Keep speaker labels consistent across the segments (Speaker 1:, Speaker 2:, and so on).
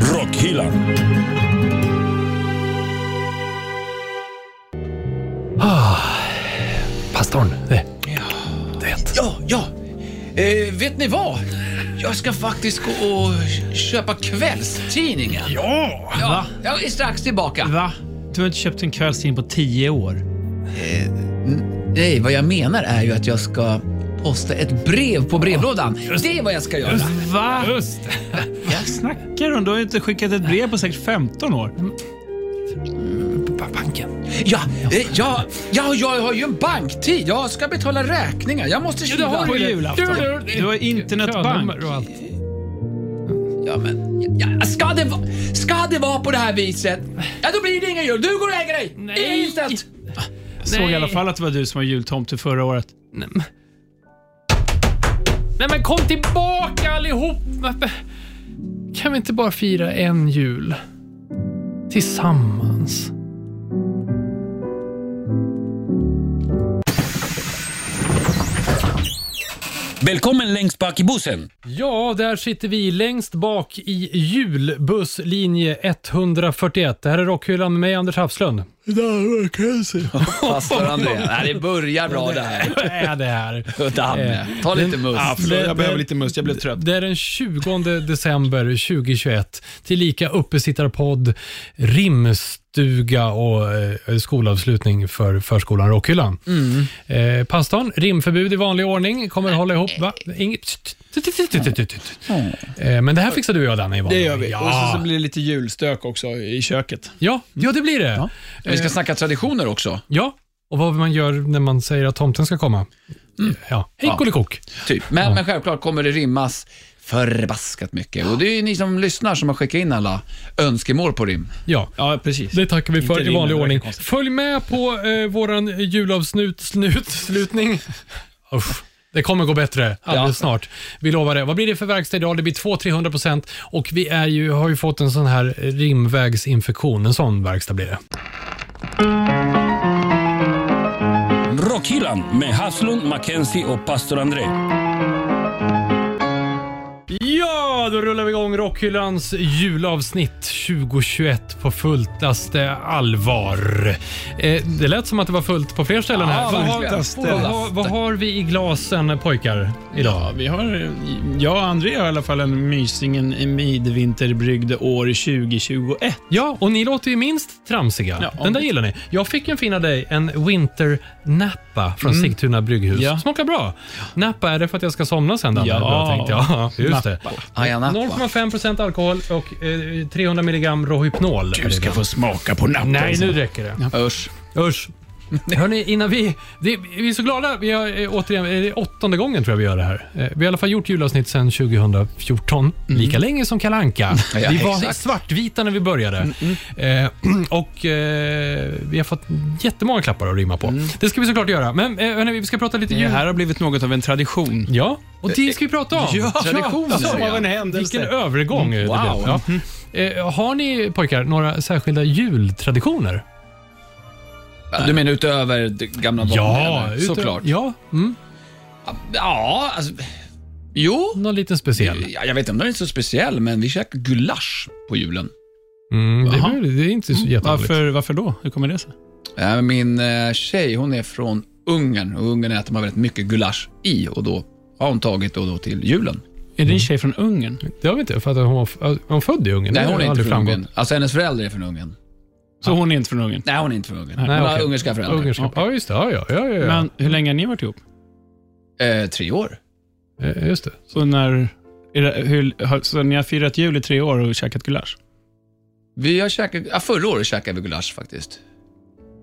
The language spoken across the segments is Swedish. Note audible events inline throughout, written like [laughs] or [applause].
Speaker 1: Tequila.
Speaker 2: Pastorn, det, du vet.
Speaker 3: Ja, ja. Eh, vet ni vad? Jag ska faktiskt gå och köpa kvällstidningen.
Speaker 1: Ja!
Speaker 3: Ja, jag är strax tillbaka.
Speaker 4: Va? Du har inte köpt en kvällstidning på tio år.
Speaker 3: Nej, vad jag menar är ju att jag ska posta ett brev på brevlådan. Det är vad jag ska göra.
Speaker 4: Va?
Speaker 1: Just det.
Speaker 4: Vad snackar du om? Du har ju inte skickat ett brev på säkert 15 år.
Speaker 2: Ba- Banken.
Speaker 3: Ja, eh, ja, ja, jag har ju en banktid. Jag ska betala räkningar. Jag måste skriva.
Speaker 4: har På
Speaker 3: ju.
Speaker 4: julafton. Du har internetbank.
Speaker 1: Könummer och allt.
Speaker 3: Ja, men, ja, ska, det va, ska det vara på det här viset? Ja, då blir det ingen jul. Du går och lägger dig.
Speaker 4: Nej.
Speaker 3: I stället.
Speaker 4: Jag såg i alla
Speaker 2: Nej.
Speaker 4: fall att det var du som var jultomte förra året.
Speaker 2: Nej, men- Nej men kom tillbaka allihop! Varför- Kan vi inte bara fira en jul? Tillsammans.
Speaker 1: Välkommen längst bak i bussen.
Speaker 2: Ja, där sitter vi längst bak i julbusslinje 141. Det här är Rockhyllan med mig, Anders Hafslund.
Speaker 3: Pastor [laughs] André. Nej, det börjar bra det här.
Speaker 2: Vad är det här?
Speaker 3: Danne, Eh, ta lite must.
Speaker 5: Alltså,
Speaker 2: förlåt, jag behöver lite
Speaker 4: must. Jag blev trött.
Speaker 2: Det är den 20 december 2021. Tillika uppesittarpodd, rimstuga och eh, skolavslutning för förskolan Rockhyllan.
Speaker 5: Mm.
Speaker 2: Eh, pastorn, rimförbud i vanlig ordning. Kommer hålla ihop, va? Inget... Eh, Men det här fixar du och jag, Danne, i vanlig
Speaker 5: Mm. Det gör vi. Och
Speaker 2: Ja,
Speaker 5: sen så blir det lite julstök också i köket.
Speaker 2: ja, ja Eh. det blir det.
Speaker 3: Vi ska snacka traditioner också.
Speaker 2: Ja, och vad man gör när man säger att tomten ska komma.
Speaker 5: Mm.
Speaker 2: Ja, hej
Speaker 3: Ja.
Speaker 2: kolikok.
Speaker 3: Typ. Men, men självklart kommer det rimmas förbaskat mycket. Och det är ju ni som lyssnar som har skickat in alla önskemål på rim.
Speaker 2: Ja.
Speaker 5: Ja, precis.
Speaker 2: Det tackar vi för
Speaker 5: Inte
Speaker 2: i vanlig
Speaker 5: rimmen,
Speaker 2: ordning.
Speaker 5: verkar konstigt.
Speaker 2: Följ med på eh, våran julavsnut,
Speaker 5: [laughs]
Speaker 2: snut, slutning. Usch. Det kommer gå bättre alldeles snart. Vi lovar det. Vad blir det för verkstad idag? Det blir 200-300% och vi är ju, har ju fått en sån här rimvägsinfektion. En sån verkstad blir det.
Speaker 1: Rockhyllan med Haslund, Mackenzie och pastor André.
Speaker 2: Ja, då rullar vi igång Rockhyllans julavsnitt 2021 på fulltaste allvar. Eh, det lät som att det var fullt på fler ställen här. Vad har, vad, har, vad har vi i glasen eh, pojkar idag?
Speaker 5: Ja, vi har, eh, jag och André har i alla fall en Mysingen i midvinterbryggd år 2021.
Speaker 2: Ja, och ni låter ju minst tramsiga.
Speaker 5: Ja, om
Speaker 2: Den där
Speaker 5: vi-
Speaker 2: gillar ni. Jag fick en fin av dig, en Winter Napa från Sigtuna brygghus.
Speaker 5: Mm. Ja.
Speaker 2: Smakar bra. Napa, är det för att jag ska somna sen? Danne?
Speaker 5: Ja.
Speaker 2: Bra tänkt. ja [laughs] just det.
Speaker 3: Aja Napa.
Speaker 2: 0,5 alkohol och eh, 300 milligram Rohypnol. är det då.
Speaker 5: få smaka på natten.
Speaker 2: Nej, nu räcker det.
Speaker 3: Usch.
Speaker 2: [laughs] Usch. Hörni, innan vi... Det, vi är så glada. Vi har, eh, återigen, eh, det är åttonde gången tror jag vi gör det här. Eh, Vi har i alla fall gjort julavsnitt sedan 2014. Lika länge som Kalle Anka.
Speaker 3: Ja,
Speaker 2: vi var
Speaker 3: exakt.
Speaker 2: svartvita när vi började. Eh, [clears throat] och eh, vi har fått jättemånga klappar att rimma på. Det ska vi såklart göra. Men eh, hörni, vi ska prata lite
Speaker 5: Det
Speaker 2: jul.
Speaker 5: här har blivit något av en tradition.
Speaker 2: Ja, och det ska vi prata om.
Speaker 5: Ja,
Speaker 3: Traditioner.
Speaker 5: Som av en händelse.
Speaker 2: Vilken övergång eh, det
Speaker 3: Wow.
Speaker 2: blev. Ja. Eh, har ni pojkar några särskilda jultraditioner?
Speaker 3: Du menar utöver det gamla vanliga?
Speaker 2: utöver-
Speaker 3: såklart.
Speaker 2: Ja, mm,
Speaker 3: Ja, alltså, jo.
Speaker 2: någon liten speciell.
Speaker 3: Ja, jag vet inte om den är så speciell, men vi käkar gulasch på julen.
Speaker 2: Mm, det,
Speaker 5: Jaha.
Speaker 2: är, det är inte så jättevanligt.
Speaker 5: Varför, varför då? Hur kommer det sig?
Speaker 3: Äh, Min eh, tjej, hon är från Ungern och Ungern äter man väldigt mycket gulasch i och då har hon tagit det och då till julen.
Speaker 5: Är din tjej från Ungern?
Speaker 2: Det har vi inte. För att hon, var- är hon född i Ungern?
Speaker 3: Nej,
Speaker 2: Det har
Speaker 3: hon är inte
Speaker 2: aldrig
Speaker 3: från
Speaker 2: framgått.
Speaker 3: Ungern. Alltså hennes föräldrar är från Ungern.
Speaker 5: Så hon är inte från Ungern?
Speaker 3: Nej, hon är inte från Ungern.
Speaker 5: Nej,
Speaker 3: Hon har
Speaker 2: okej.
Speaker 3: ungerska föräldrar.
Speaker 2: Ungerska. Ja, just det. Ja, ja, ja, ja, ja.
Speaker 5: Men hur länge har ni varit ihop?
Speaker 3: Eh, tre år.
Speaker 2: Eh, just det.
Speaker 5: Så, när, är det, hur, har- så ni har firat jul i tre år och käkat gulasch?
Speaker 3: Vi har käkat, ja, förra året käkade vi gulasch faktiskt.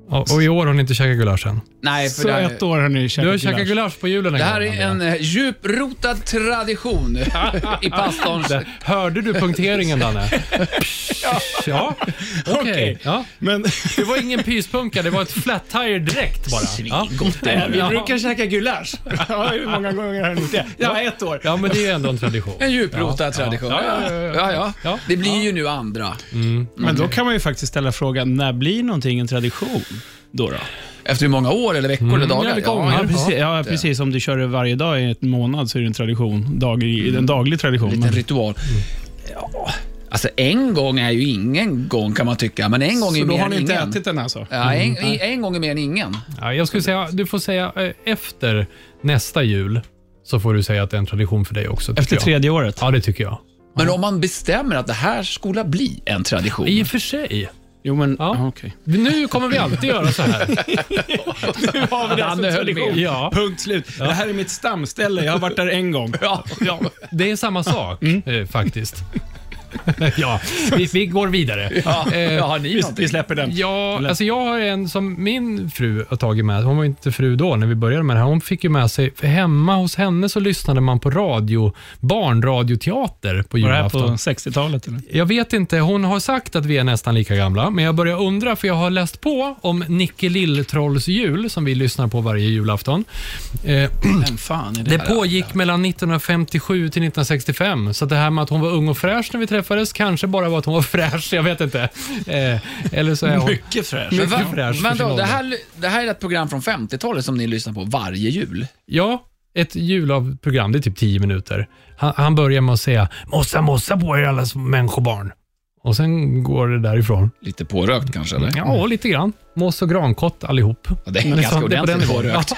Speaker 2: Ja, och i år har ni inte käkat gulasch än.
Speaker 3: Nej, för
Speaker 5: Så
Speaker 3: det,
Speaker 5: ett år har ni
Speaker 2: Du har
Speaker 5: käkat
Speaker 2: käkat
Speaker 5: gulasch?
Speaker 2: gulasch på julen en
Speaker 3: det här
Speaker 2: gång,
Speaker 3: är
Speaker 2: Andrea.
Speaker 3: en eh, djuprotad tradition [laughs] i pastorns...
Speaker 2: Där- Hörde du punkteringen, Danne? ja, okej.
Speaker 5: Okej.
Speaker 2: Ja.
Speaker 5: Men
Speaker 2: Det var ingen pyspunka, det var ett flat tire direkt bara. Ja.
Speaker 3: Svingott är det.
Speaker 5: vi
Speaker 2: Ja.
Speaker 5: brukar käka gulasch. ja, hur många gånger har ni gjort det? Ja, ett år.
Speaker 2: ja, men det är ju ändå en tradition.
Speaker 3: En djuprotad tradition.
Speaker 2: Ja, ja, ja, ja.
Speaker 3: Ja, ja.
Speaker 2: Ja.
Speaker 3: Det blir ju nu andra.
Speaker 5: Men då kan man ju faktiskt ställa frågan, när blir någonting en tradition? Då då?
Speaker 3: Efter hur många år eller veckor eller dagar?
Speaker 2: eller gånger.
Speaker 5: Ja, Mm.
Speaker 2: Ja,
Speaker 5: precis, ja, precis. Om du kör det varje dag i en månad så är det en tradition. Daglig, En daglig tradition.
Speaker 3: En
Speaker 5: Men-
Speaker 3: liten ritual. Ja. Alltså en gång är ju ingen gång kan man tycka, men en gång är
Speaker 5: Så
Speaker 3: ju
Speaker 5: då
Speaker 3: mer
Speaker 5: har
Speaker 3: än
Speaker 5: ni inte
Speaker 3: ingen.
Speaker 5: ätit den alltså?
Speaker 3: Ja, en, i- en gång är mer än ingen.
Speaker 2: Ja, jag skulle säga, du får säga eh, efter nästa jul så får du säga att det är en tradition för dig också. tycker
Speaker 5: Efter
Speaker 2: jag.
Speaker 5: tredje året?
Speaker 2: Ja, det tycker jag.
Speaker 3: Men om man bestämmer att det här skulle bli en tradition.
Speaker 2: I och för sig.
Speaker 5: Jo, men...
Speaker 2: Ja.
Speaker 5: Ja. okej.
Speaker 2: Nu kommer vi alltid göra så här.
Speaker 5: Nu har vi det som
Speaker 3: Danne höll med.
Speaker 5: tradition.
Speaker 2: Ja.
Speaker 5: Punkt slut. Det här är mitt stamställe. Jag har varit där en gång.
Speaker 3: Ja, ja.
Speaker 2: Det är samma sak eh, faktiskt. [laughs] ja, vi, vi går vidare.
Speaker 3: Ja,
Speaker 2: Eh,
Speaker 3: ja, har ni
Speaker 5: Vi,
Speaker 3: någonting?
Speaker 5: vi släpper den.
Speaker 2: Ja, alltså jag har en som min fru har tagit med. Hon var ju inte fru då när vi började med det här. Hon fick ju med sig, för hemma hos henne så lyssnade man på radio, barnradioteater på
Speaker 5: Var det här på
Speaker 2: julafton.
Speaker 5: 60-talet? Eller?
Speaker 2: Jag vet inte, hon har sagt att vi är nästan lika gamla, men jag börjar undra för jag har läst på om Nicke Lilltrolls jul som vi lyssnar på varje julafton. Eh,
Speaker 5: Vem fan är
Speaker 2: det pågick mellan 1957 till 1965, så det här med att hon var ung och fräsch när vi träffades kanske bara var att hon var [laughs] fräsch, jag vet inte. Eh, eller så är hon...
Speaker 5: Mycket [laughs] fräsch.
Speaker 3: Men
Speaker 2: mycket fräsch för
Speaker 3: vänta,
Speaker 2: sin
Speaker 3: det,
Speaker 2: ålder.
Speaker 3: här, det här är ett program från 50-talet som ni lyssnar på varje jul.
Speaker 2: Ja, ett julavprogram, det är typ 10 minuter. Han, han börjar med att säga ”mossa, mossa på er alla som människobarn”. Och sen går det därifrån.
Speaker 3: Lite pårökt kanske, eller?
Speaker 2: Ja, lite grann. Moss och grankott allihop.
Speaker 3: Ja, det är
Speaker 2: Men
Speaker 3: ganska
Speaker 2: så- det är på
Speaker 3: ordentligt
Speaker 2: den nivån.
Speaker 3: pårökt.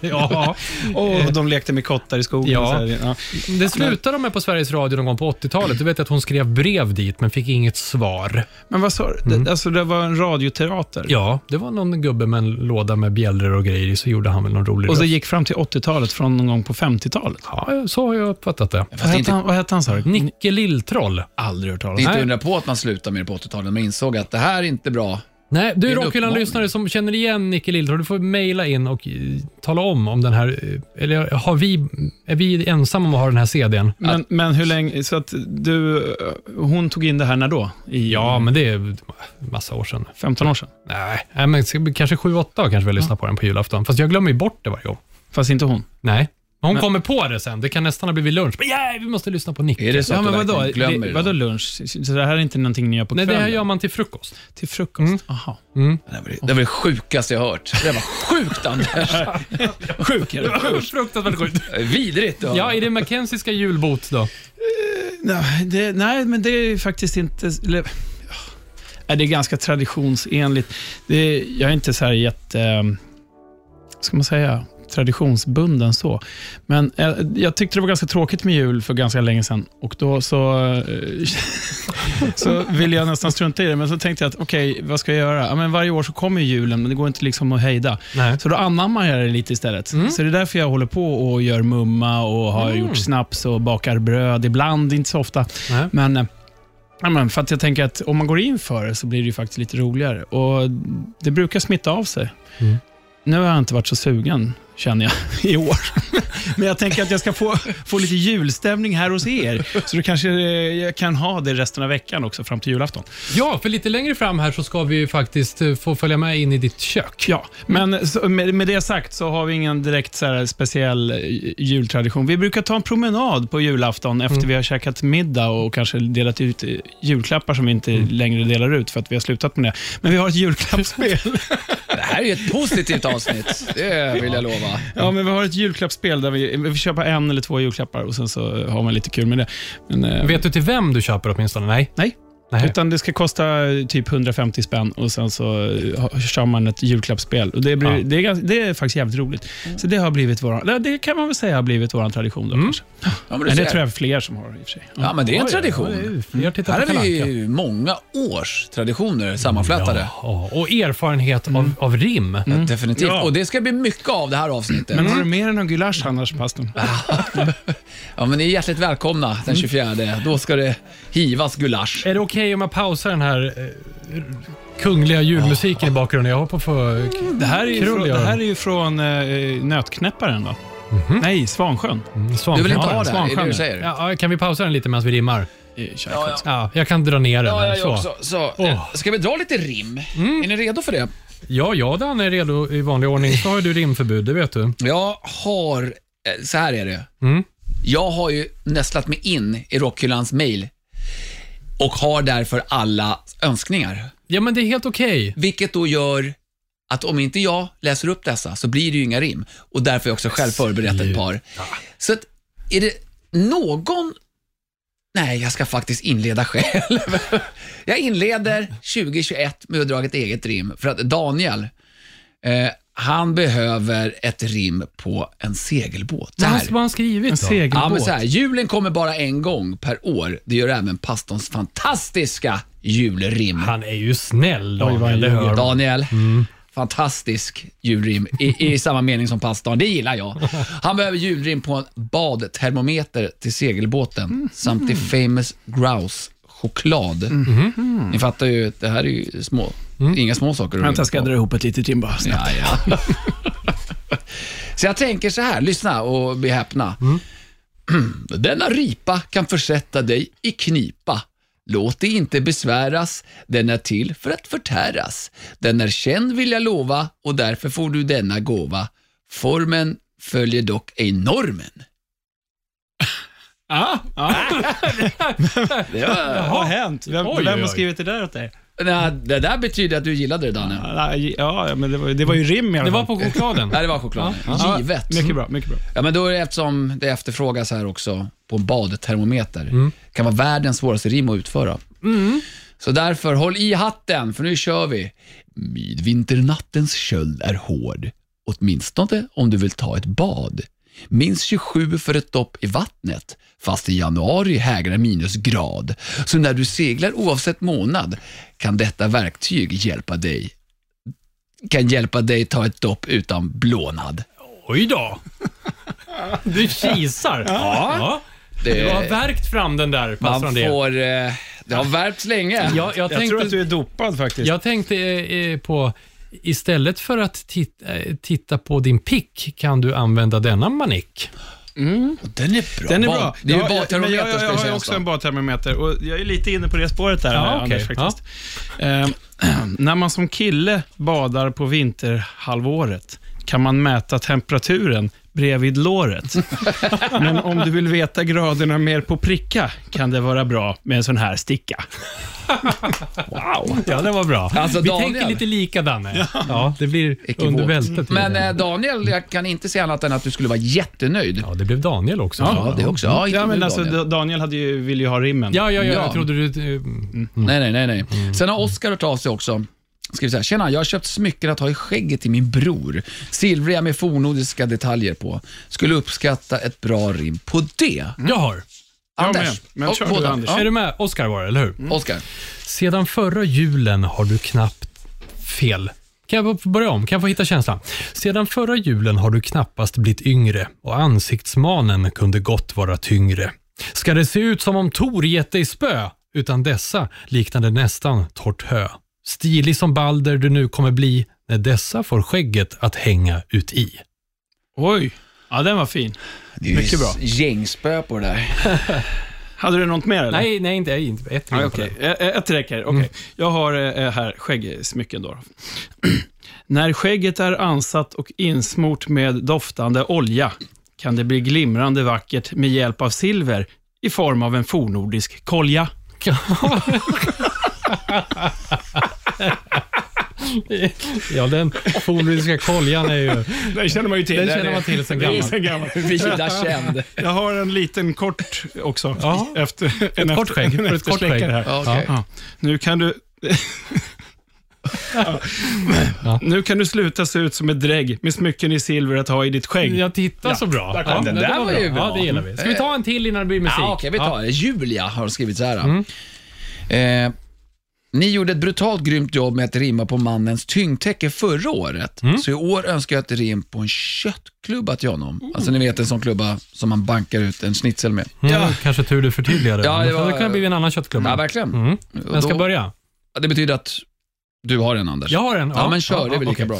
Speaker 2: Ja.
Speaker 5: Och de lekte med kottar i skogen.
Speaker 2: Ja.
Speaker 5: och Så här. Ja.
Speaker 2: Det slutade med på Sveriges Radio någon gång på 80-talet. Du vet att hon skrev brev dit men fick inget svar.
Speaker 5: Men vad sa du? Det, alltså, det var en radioteater.
Speaker 2: Ja, det var någon gubbe med en låda med bjällror och grejer i, så gjorde han väl någon rolig
Speaker 5: Och det
Speaker 2: röst.
Speaker 5: gick fram till 80-talet från någon gång på 50-talet.
Speaker 2: Ja, så har jag uppfattat det.
Speaker 5: Vad
Speaker 3: Fast det är
Speaker 5: hette
Speaker 3: inte, Mm.
Speaker 5: han, vad hette han sa du?
Speaker 2: Nicke Lilltroll.
Speaker 5: Aldrig hört talas
Speaker 3: det är inte
Speaker 2: Nej.
Speaker 3: undra på att man slutar med det på 80-talet, men insåg att det här är inte bra.
Speaker 2: Nej,
Speaker 3: är
Speaker 2: du
Speaker 3: en
Speaker 2: Rockhyllan-lyssnare som känner igen Nicke Lilltroll, du får mejla in och eh, tala om om den här, eh, eller har vi, är vi ensamma om att ha den här CDn?
Speaker 5: Men, men hur länge, så att du, hon tog in det här när då? I
Speaker 2: Ja, men det är massa år sedan.
Speaker 5: 15 år sedan?
Speaker 2: Nej, nej, men kanske 7-8 kanske vi lyssnar på den på julafton. Fast jag glömmer ju bort det varje gång.
Speaker 5: Fast inte hon?
Speaker 2: Nej. Hon kommer på det sen. Det kan nästan ha blivit lunch. Men nej, vi måste lyssna på Nicke.
Speaker 3: Är det så
Speaker 5: Ja,
Speaker 3: att
Speaker 5: men
Speaker 3: du
Speaker 5: vadå?
Speaker 3: verkligen glömmer
Speaker 5: Det, vadå lunch? Så det här är inte någonting ni gör på
Speaker 2: Nej,
Speaker 5: kvällen?
Speaker 2: det här gör man till frukost.
Speaker 5: Till frukost?
Speaker 2: Mm.
Speaker 5: Aha.
Speaker 3: Det var det- det var det sjukaste jag hört. Det var sjukt, Anders.
Speaker 5: Sjuk är det.
Speaker 2: Fruktansvärt sjukt.
Speaker 3: Vidrigt. att höra.
Speaker 2: [laughs] Ja, är det Mackenzieska julbot då?
Speaker 5: Nej, det, nej, men det är faktiskt inte... Eller, ja, Äh, det är ganska traditionsenligt. Det, jag är inte så här jätte... eh, ska man säga? Traditionsbunden så. Men eh, jag tyckte det var ganska tråkigt med jul för ganska länge sedan. Och då så, eh, [laughs] så ville jag nästan strunta i det. Men så tänkte jag att okej, vad ska jag göra? Ja, men varje år så kommer ju julen, men det går inte liksom att hejda.
Speaker 2: Nej.
Speaker 5: Så då anammar jag det lite istället. Så det är därför jag håller på och gör mumma och har
Speaker 2: Mm.
Speaker 5: gjort snaps och bakar bröd. Ibland, inte så ofta.
Speaker 2: Nej.
Speaker 5: Men, eh, ja, men för att jag tänker att om man går in för det så blir det ju faktiskt lite roligare. Och det brukar smitta av sig.
Speaker 2: Mm.
Speaker 5: Nu har jag inte varit så sugen, känner jag, [laughs] i år. Men jag tänker att jag ska få, få lite julstämning här hos er. Så då kanske eh, jag kan ha det resten av veckan också, fram till julafton.
Speaker 2: Ja, för lite längre fram här så ska vi ju faktiskt eh, få följa med in i ditt kök.
Speaker 5: Ja, men så, med, med det sagt så har vi ingen direkt så här, speciell eh, jultradition. Vi brukar ta en promenad på julafton efter vi har käkat middag och kanske delat ut eh, julklappar som vi inte längre delar ut för att vi har slutat med det. Men vi har ett julklappsspel.
Speaker 3: Det här är ju ett positivt avsnitt. Det vill jag lova.
Speaker 5: ja, men vi har ett julklappsspel där vi, vi får köpa en eller två julklappar och sen så har man lite kul med det. Men, eh,
Speaker 2: Vet du till vem du köper åtminstone? Nej.
Speaker 5: Nej.
Speaker 2: Nej.
Speaker 5: Utan det ska kosta eh, typ 150 spänn och sen så eh, ha- kör man ett julklappsspel. Och det, blir,
Speaker 2: Ja.
Speaker 5: det, är, gans- det är faktiskt jävligt roligt.
Speaker 3: Mm.
Speaker 5: Så det har blivit våran, det- det kan man väl säga har blivit vår tradition då kanske.
Speaker 3: Ja, men, du
Speaker 5: Men det
Speaker 3: ser.
Speaker 5: tror jag fler som har i och för sig.
Speaker 3: ja, men det är en
Speaker 2: Oj,
Speaker 3: tradition.
Speaker 2: oj, oj, Fler tittar
Speaker 3: Här
Speaker 2: på
Speaker 3: är
Speaker 2: Kalle
Speaker 3: vi
Speaker 2: Anka.
Speaker 3: ju många års traditioner sammanflätade.
Speaker 2: Ja, och erfarenhet av, av rim.
Speaker 3: Definitivt.
Speaker 5: Ja. Mm.
Speaker 3: Och det ska bli mycket av det här avsnittet.
Speaker 5: Men har du mer än någon gulasch annars, pastorn?
Speaker 3: Ja, men ni är hjärtligt välkomna den 24. Då ska det hivas gulasch.
Speaker 2: Är det okej om jag pausar den här eh, kungliga julmusiken i bakgrunden? Jag hoppar på...
Speaker 3: Mm.
Speaker 5: Det här är ju
Speaker 2: Krull
Speaker 5: från,
Speaker 2: gör
Speaker 5: det
Speaker 2: de.
Speaker 5: här är ju från eh, Nötknäpparen va?
Speaker 3: Mhm.
Speaker 5: Nej, Svansjön.
Speaker 2: Svansjön.
Speaker 3: Du vill inte
Speaker 5: Ja,
Speaker 3: ha det? Är det det
Speaker 5: svanstjärnor.
Speaker 3: du säger?
Speaker 2: Ja, ja, kan vi pausa den lite medan vi rimmar?
Speaker 5: I kärlek.
Speaker 3: ja.
Speaker 2: Ja, jag kan dra ner den.
Speaker 3: Ja,
Speaker 2: här,
Speaker 3: jag
Speaker 2: så.
Speaker 3: gör också. Så, eh, Ska vi dra lite rim? Är ni redo för det?
Speaker 2: Ja, jag Dan är redo i vanlig ordning. Så har ju du rimförbud, det vet du.
Speaker 3: Jag har, eh, så här är det.
Speaker 2: Mm.
Speaker 3: Jag har ju nästlat mig in i Rockhyllans mail och har därför alla önskningar.
Speaker 2: Ja, men det är helt okej.
Speaker 3: Vilket då gör att om inte jag läser upp dessa så blir det ju inga rim. Och därför har jag också själv förberett ett par. Så att, är det någon Nej, jag ska faktiskt inleda själv. [laughs] jag inleder 2021 med att dra ett eget rim, för att Daniel, eh, han behöver ett rim på en segelbåt. Så
Speaker 2: Vad
Speaker 3: här.
Speaker 2: har- vad har han skrivit
Speaker 5: En
Speaker 2: då?
Speaker 5: segelbåt.
Speaker 3: Ja, men så här, julen kommer bara en gång per år. Det gör även pastorns fantastiska julrim.
Speaker 2: Han är ju snäll,
Speaker 5: Oj, vad
Speaker 2: Daniel. Det
Speaker 5: han ljuger. Mm.
Speaker 2: hör man.
Speaker 3: Daniel. Fantastisk julrim i, i samma mening som pastorn. Det gillar jag. Han behöver julrim på en badtermometer till segelbåten
Speaker 5: Mm.
Speaker 3: samt till famous grouse choklad. Ni fattar ju, det här är ju små, inga små saker. att
Speaker 5: Mm. Vänta,
Speaker 3: rimma
Speaker 5: jag ska
Speaker 3: på.
Speaker 5: dra ihop ett litet rim bara. snabbt.
Speaker 3: Ja, ja. [laughs] så jag tänker så här, lyssna och bli häpna.
Speaker 5: Mm.
Speaker 3: [clears throat] Denna ripa kan försätta dig i knipa. Låt dig inte besväras, den är till för att förtäras. Den är känd vill jag lova och därför får du denna gåva. Formen följer dock ej normen.
Speaker 5: Ah, ah,
Speaker 3: Det, var,
Speaker 5: vad har hänt? Vem,
Speaker 2: Oj,
Speaker 5: vem
Speaker 2: oj,
Speaker 5: har
Speaker 2: oj.
Speaker 5: skrivit det där åt dig?
Speaker 3: Nej, det där betyder att du gillade det Danne.
Speaker 5: Ja, ja, men det var, det var ju rim i alla
Speaker 2: Det
Speaker 5: fall.
Speaker 2: var på
Speaker 3: [laughs]
Speaker 2: chokladen.
Speaker 3: Nej, det var chokladen.
Speaker 5: Ja,
Speaker 3: Givet.
Speaker 5: Mycket bra, mycket bra.
Speaker 3: Ja, men då är det eftersom det efterfrågas här också på en badtermometer. kan vara världens svåraste rim att utföra. Så därför, håll i hatten, för nu kör vi. Midvinternattens köld är hård, åtminstone om du vill ta ett bad. Minst 27 för ett dopp i vattnet, fast i januari hägrar minusgrad. Så när du seglar oavsett månad kan detta verktyg hjälpa dig kan hjälpa dig ta ett dopp utan blånad.
Speaker 2: Oj då! Du kisar. Ja. Du har värkt fram den där,
Speaker 3: Man
Speaker 2: pastor André.
Speaker 3: får... Eh, det har värpts länge.
Speaker 2: Jag, jag,
Speaker 5: Jag tror
Speaker 2: tänkte,
Speaker 5: att du är dopad faktiskt.
Speaker 2: jag tänkte eh, eh, på, istället för att tit, eh, titta på din pick kan du använda denna manick.
Speaker 3: Den är bra.
Speaker 5: Den är bra.
Speaker 3: Det är ju
Speaker 5: Ja,
Speaker 3: badtermometer
Speaker 5: men jag,
Speaker 3: ska
Speaker 5: jag,
Speaker 3: jag
Speaker 5: jag har
Speaker 3: säga
Speaker 5: ju
Speaker 3: också.
Speaker 5: också en badtermometer och jag är lite inne på det spåret där,
Speaker 2: Ja,
Speaker 5: Anders,
Speaker 2: okej.
Speaker 5: faktiskt. Ehm, [clears throat] när man som kille badar på vinterhalvåret kan man mäta temperaturen bredvid låret. Men om du vill veta graderna mer på pricka kan det vara bra med en sån här sticka.
Speaker 2: Wow! Ja, det var bra.
Speaker 3: Alltså,
Speaker 2: Vi
Speaker 3: Daniel.
Speaker 2: tänker lite lika, Danne. Ja. det blir
Speaker 3: Ekivok.
Speaker 2: under bältet.
Speaker 3: Men eh, Daniel, jag kan inte säga annat än att du skulle vara jättenöjd.
Speaker 2: Ja, det blev Daniel också.
Speaker 3: Ja, det också. Ja, inte
Speaker 5: Ja, men
Speaker 3: nu,
Speaker 5: alltså,
Speaker 3: Daniel.
Speaker 5: Daniel hade ju, ville ju ha rimmen.
Speaker 2: Ja, ja, ja,
Speaker 3: Ja.
Speaker 2: jag trodde du... eh, mm.
Speaker 3: Nej, nej, nej. nej.
Speaker 5: Mm.
Speaker 3: Sen har Oskar hört av sig också. Skriver så här, tjena, jag har köpt smycken att ha i skägget till min bror. Silvriga med fornnordiska detaljer på. Skulle uppskatta ett bra rim på det.
Speaker 2: Jag har.
Speaker 5: Jag med.
Speaker 3: Anders.
Speaker 5: Men
Speaker 3: Och
Speaker 5: kör
Speaker 3: båda.
Speaker 5: du, Anders. Mm.
Speaker 2: Är du med? Oscar var det, eller hur?
Speaker 3: Oskar.
Speaker 2: Sedan förra julen har du knappt... Fel. Kan jag få börja om? Kan jag få hitta känslan? Sedan förra julen har du knappast blivit yngre och ansiktsmanen kunde gott vara tyngre. Ska det se ut som om Tor gett dig spö? Utan dessa liknade nästan torrt hö. Stilig som Balder du nu kommer bli när dessa får skägget att hänga ut i.
Speaker 5: Oj, ja, den var fin.
Speaker 3: Det är ju
Speaker 5: Mycket bra.
Speaker 3: gängspö på det där. [laughs]
Speaker 5: Hade du något mer? Eller?
Speaker 2: Nej, nej, inte, inte ett
Speaker 5: Ja,
Speaker 2: till.
Speaker 5: okej. Eh, eh, Ett räcker. Okej. Jag har eh, här skäggsmycken då. [clears throat] När skägget är ansatt och insmort med doftande olja kan det bli glimrande vackert med hjälp av silver i form av en fornordisk kolja.
Speaker 2: Ja, den fornnordiska koljan är ju...
Speaker 5: Den känner man ju till.
Speaker 2: Den känner man till sen gammalt.
Speaker 5: gammalt.
Speaker 3: Vida känd.
Speaker 5: Jag har en liten kort också.
Speaker 2: Ja.
Speaker 5: Efter, en
Speaker 2: kort
Speaker 5: efter-
Speaker 2: skägg.
Speaker 5: en
Speaker 2: Ett kort
Speaker 5: eftersläckare
Speaker 2: skägg.
Speaker 5: här.
Speaker 3: Ja, okej.
Speaker 5: Ja. Nu kan [laughs] du... Ja.
Speaker 2: Ja.
Speaker 5: Nu kan du sluta se ut som ett drägg med smycken i silver att ha i ditt skägg.
Speaker 2: Jag tittar så bra.
Speaker 5: Där kom
Speaker 2: ja,
Speaker 5: den.
Speaker 2: det
Speaker 3: Där var
Speaker 2: bra.
Speaker 3: ju bra.
Speaker 2: Ja, det gillar vi. Ska vi ta en till innan det blir musik?
Speaker 3: Ja, Ah, okej, vi tar det. Julia har skrivit så här.
Speaker 2: Mm.
Speaker 3: Eh, ni gjorde ett brutalt grymt jobb med att rimma på mannens tyngdtäcke förra året,
Speaker 2: Mm.
Speaker 3: så i år önskar jag ett rim på en köttklubba till honom. Alltså ni vet en sån klubba som man bankar ut en schnitzel med.
Speaker 2: Ja. Mm, Kanske tur du förtydligade.
Speaker 3: Ja, det
Speaker 2: det
Speaker 3: var-
Speaker 2: hade kunnat bli en annan köttklubba.
Speaker 3: Ja, verkligen.
Speaker 2: Mm.
Speaker 3: Och
Speaker 2: Vem ska
Speaker 3: då-
Speaker 2: börja?
Speaker 3: Det betyder att du har en Anders.
Speaker 2: Jag har en.
Speaker 3: Ja, men kör, det är väl lika
Speaker 2: okej.
Speaker 3: bra.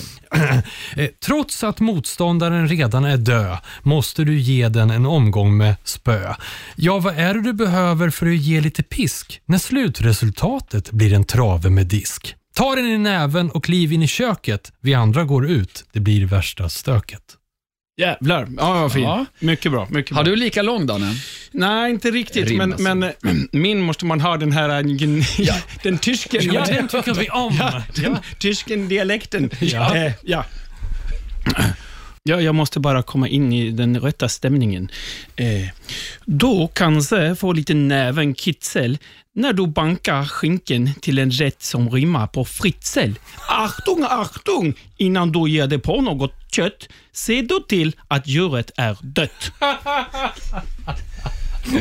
Speaker 2: [clears throat] Eh, Trots att motståndaren redan är död måste du ge den en omgång med spö. Ja, vad är det du behöver för att ge lite pisk när slutresultatet blir en trave med disk? Ta den i näven och kliv in i köket. Vi andra går ut. Det blir värsta stöket.
Speaker 5: Jävlar. Ja, vad fint.
Speaker 3: Ja.
Speaker 5: Mycket bra. Mycket bra.
Speaker 3: Har du lika lång Danne?
Speaker 5: Nej, inte riktigt,
Speaker 3: Rim,
Speaker 5: men,
Speaker 3: alltså.
Speaker 5: men eh, min måste man ha den här... eh, gn- [laughs] Den tysken.
Speaker 2: Ja,
Speaker 5: [laughs]
Speaker 2: den tycker vi om.
Speaker 5: den tysken dialekten.
Speaker 2: Ja.
Speaker 5: Eh, ja. Eh, Ja, jag måste bara komma in i den rätta stämningen. Eh, då kanske får lite näven kitzel när du bankar skinken till en rätt som rimmar på fritzel. Achtung, achtung! Innan du ger dig på något kött, se då till att djuret är dött.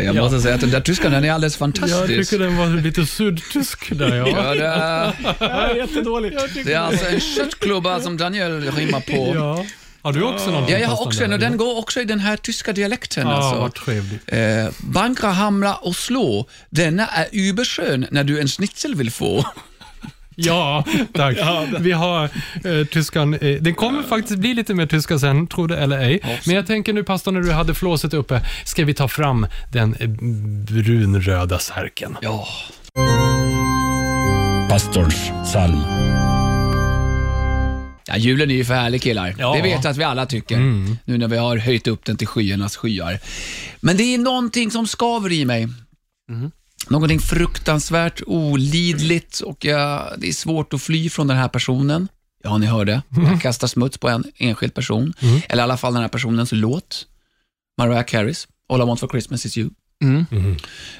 Speaker 3: Jag måste säga att den där tyskan, den är alldeles
Speaker 2: Jag
Speaker 3: fantastisk.
Speaker 2: tycker den var lite sydtysk där, ja.
Speaker 3: Ja, det, är,
Speaker 5: Jättedåligt.
Speaker 3: det är alltså en köttklubba som Daniel rimmar på. [laughs] Ja,
Speaker 2: ja. Har du också någon?
Speaker 3: jag har
Speaker 2: Pastan
Speaker 3: också en
Speaker 2: där,
Speaker 3: och den
Speaker 2: eller?
Speaker 3: går också i den här tyska dialekten.
Speaker 2: Ja, vad
Speaker 3: alltså.
Speaker 2: trevligt.
Speaker 3: Eh, bankra, hamra och slå. Denna är überskön när du en schnitzel vill få.
Speaker 2: Ja,
Speaker 3: [laughs]
Speaker 2: tack. Vi har eh, tyskan. Eh, det kommer faktiskt bli lite mer tyska sen, tro det eller ej. Men jag tänker nu, pastor, när du hade flåset uppe, ska vi ta fram den eh, brunröda särken?
Speaker 3: Ja.
Speaker 1: Pastorns psalm.
Speaker 3: Ja, julen är ju för härlig killar.
Speaker 2: Ja.
Speaker 3: Det vet jag att vi alla tycker. Nu när vi har höjt upp den till skyarnas skyar. Men det är någonting som skaver i mig. Någonting fruktansvärt olidligt och jag, det är svårt att fly från den här personen. Ja, ni hörde. Jag kastar smuts på en enskild person. Eller i alla fall den här personens låt. Mariah Careys All I Want For Christmas Is You.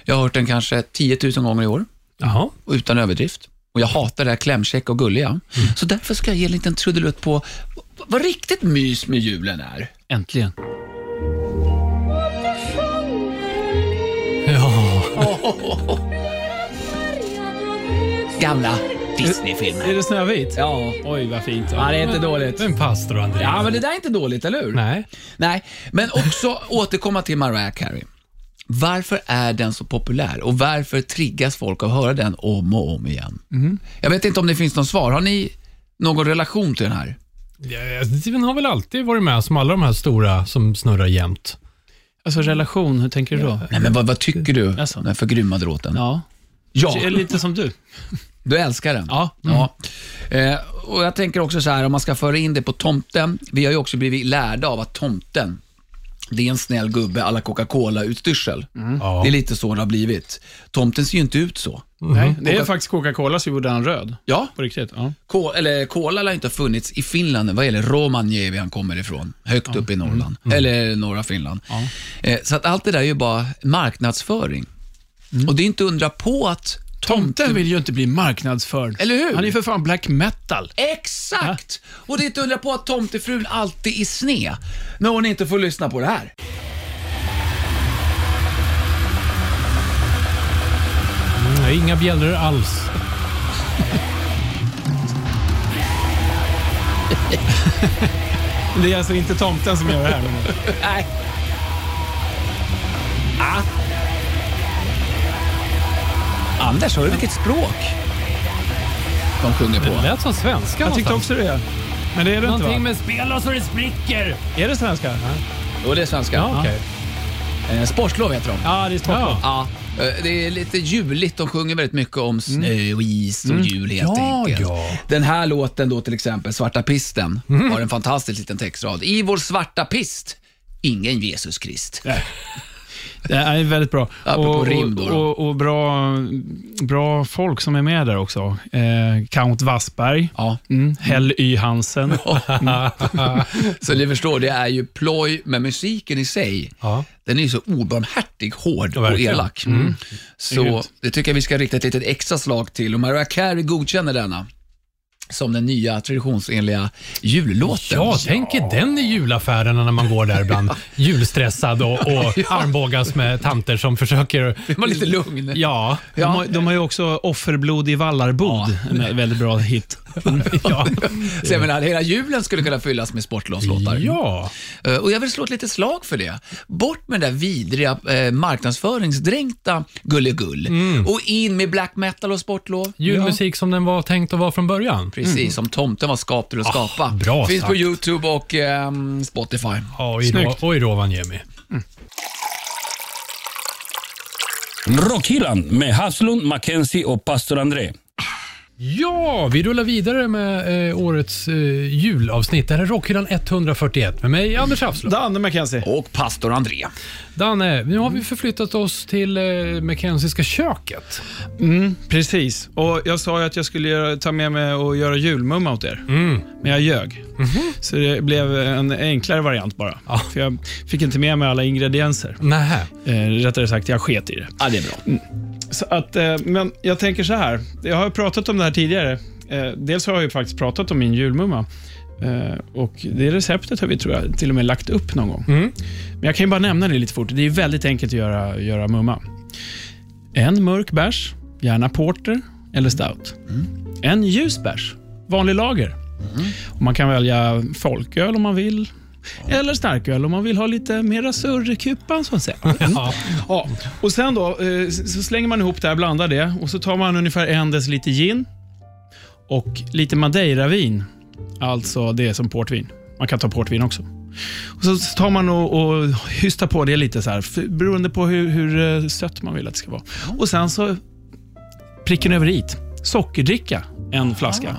Speaker 3: Jag har hört den kanske 10 000 gånger i år
Speaker 2: Jaha.
Speaker 3: och utan överdrift. Och jag hatar det här klämkäcka och gulliga. Så därför ska jag ge en liten trudelutt på v- vad riktigt mys med julen är.
Speaker 5: Äntligen.
Speaker 2: Ja.
Speaker 3: Gamla Disney-filmer.
Speaker 5: Är det Snövit?
Speaker 3: Ja.
Speaker 5: Oj, vad fint.
Speaker 3: ja, det är inte dåligt.
Speaker 2: Men pastor André.
Speaker 3: Ja, men det där är inte dåligt, eller hur?
Speaker 2: Nej.
Speaker 3: Nej, men också återkomma till Mariah Carey. Varför är den så populär och varför triggas folk av att höra den om och om igen? Jag vet inte om det finns någon svar. Har ni någon relation till den här?
Speaker 2: Ja, Den har väl alltid varit med, som alla de här stora som snurrar jämt.
Speaker 5: Alltså relation, hur tänker du då?
Speaker 3: Nej, men vad, vad tycker du?
Speaker 5: Alltså.
Speaker 3: Den förgrymmade låten.
Speaker 5: Ja.
Speaker 3: Ja.
Speaker 5: Är det Lite som du.
Speaker 3: Du älskar den?
Speaker 5: Ja.
Speaker 3: ja. Eh, och jag tänker också så här, om man ska föra in det på tomten. Vi har ju också blivit lärda av att tomten, det är en snäll gubbe alla Coca-Cola-utstyrsel.
Speaker 2: Ja.
Speaker 3: Det är lite så det har blivit. Tomten ser ju inte ut så.
Speaker 5: Nej, det är faktiskt Coca-Cola som gjorde han röd.
Speaker 3: Ja,
Speaker 5: På riktigt. Ja.
Speaker 3: Ko- eller Cola lär inte ha funnits i Finland, vad gäller Romagnevi han kommer ifrån, högt upp i Norrland, eller norra Finland. Eh, så att allt det där är ju bara marknadsföring. Och det är inte undra på att
Speaker 5: Tomten vill ju inte bli marknadsförd.
Speaker 3: Eller hur?
Speaker 5: Han är ju för fan black metal.
Speaker 3: Exakt! Och det är inte undra på att tomtefrun alltid är sne när hon inte får lyssna på det här.
Speaker 2: Nej, inga bjällror alls.
Speaker 5: Det är alltså inte tomten som gör det här.
Speaker 3: Nej. Ah. Anders, hör du vilket språk de sjunger
Speaker 2: Det
Speaker 3: på?
Speaker 2: lät som svenska
Speaker 5: Jag tyckte
Speaker 2: någonstans.
Speaker 5: också det. Men det är det inte va?
Speaker 2: Någonting med spela så det spricker.
Speaker 5: Är det svenska?
Speaker 3: Jo, det är svenska.
Speaker 2: Ja, okej.
Speaker 3: Eh, sportlov heter de.
Speaker 5: Ja, det är sportlov.
Speaker 2: Ja.
Speaker 3: Ja, Mm. eh, det är lite juligt. De sjunger väldigt mycket om snö och is och jul helt
Speaker 2: Ja,
Speaker 3: enkelt.
Speaker 2: ja.
Speaker 3: Den här låten då till exempel, Svarta pisten, har en fantastisk liten textrad. I vår svarta pist, ingen Jesus Krist.
Speaker 5: Det är väldigt bra.
Speaker 3: Apropå rim då, då.
Speaker 5: och, och bra, bra folk som är med där också. Eh, Count Wassberg,
Speaker 3: Ja,
Speaker 5: mm. Hell Y Hansen.
Speaker 3: Mm. [laughs] så ni förstår, det är ju ploj, men musiken i sig,
Speaker 2: Ja.
Speaker 3: den är ju så obarmhärtig, hård och
Speaker 2: verkligen. Mm.
Speaker 3: elak. Mm. Så det tycker jag vi ska rikta ett litet extra slag till och Mariah Carey godkänner denna som den nya traditionsenliga jullåten.
Speaker 2: Ja, tänk er den i julaffärerna när man går där bland julstressad och, och armbågas med tanter som försöker...
Speaker 3: Man är lite lugn.
Speaker 2: Ja,
Speaker 5: De, har, de har ju också Offerblod i Vallarbod. En väldigt bra
Speaker 2: [laughs]
Speaker 5: hit.
Speaker 2: ja,
Speaker 3: [laughs] Så jag menar, hela julen skulle kunna fyllas med sportlovslåtar.
Speaker 2: ja.
Speaker 3: Eh, Och jag vill slå ett litet slag för det. Bort med den där vidriga eh, marknadsföringsdränkta gullegull
Speaker 2: Mm.
Speaker 3: och in med black metal och sportlov.
Speaker 2: Julmusik som den var tänkt att vara från början.
Speaker 3: Precis,
Speaker 5: Mm.
Speaker 3: som tomten var skapt till att
Speaker 5: Ah,
Speaker 3: skapa.
Speaker 2: bra
Speaker 3: Finns på
Speaker 2: sagt.
Speaker 3: YouTube och ehm, Spotify.
Speaker 2: Ja, och i, Rå,
Speaker 5: Snyggt.
Speaker 2: och i Rovaniemi.
Speaker 1: Rockhyllan med Haslund, Mackenzie och pastor André.
Speaker 2: Ja, vi rullar vidare med eh, årets eh, julavsnitt. Det här är Rockhyllan 141 med mig, Anders Hafslund.
Speaker 5: Danne McKenzie.
Speaker 3: Och pastor André.
Speaker 2: Danne, nu har vi förflyttat oss till eh, Mackenziska köket.
Speaker 5: Mm, precis. Och jag sa ju att jag skulle göra, ta med mig och göra julmumma åt er.
Speaker 2: Mm.
Speaker 5: Men jag ljög. Så det blev en enklare variant bara.
Speaker 2: Mhm. Ja.
Speaker 5: För jag fick inte med mig alla ingredienser.
Speaker 2: Nähä.
Speaker 5: Eh, rättare sagt, jag sket i det.
Speaker 3: Ja, det är bra.
Speaker 5: Så att, eh, men jag tänker så här. Jag har ju pratat om det här tidigare. Eh, dels har jag ju faktiskt pratat om min julmumma. Eh, och det receptet har vi tror jag till och med lagt upp någon gång.
Speaker 2: Mm.
Speaker 5: Men jag kan ju bara nämna det lite fort. Det är väldigt enkelt att göra, göra mumma. En mörk bärs, gärna porter eller stout.
Speaker 2: Mm.
Speaker 5: En ljus bärs, vanlig lager. Och man kan välja folköl om man vill. Eller starköl om man vill ha lite mera surr i kupan så att säga.
Speaker 2: Ja.
Speaker 5: Ja, och sen då eh, så slänger man ihop det här, blandar det och så tar man ungefär en deciliter gin och lite madeiravin, alltså det som portvin. Man kan ta portvin också. Och så tar man och, och hystar på det lite så här, för- beroende på hur, hur eh, sött man vill att det ska vara. Och sen så pricken över hit, sockerdricka, en flaska.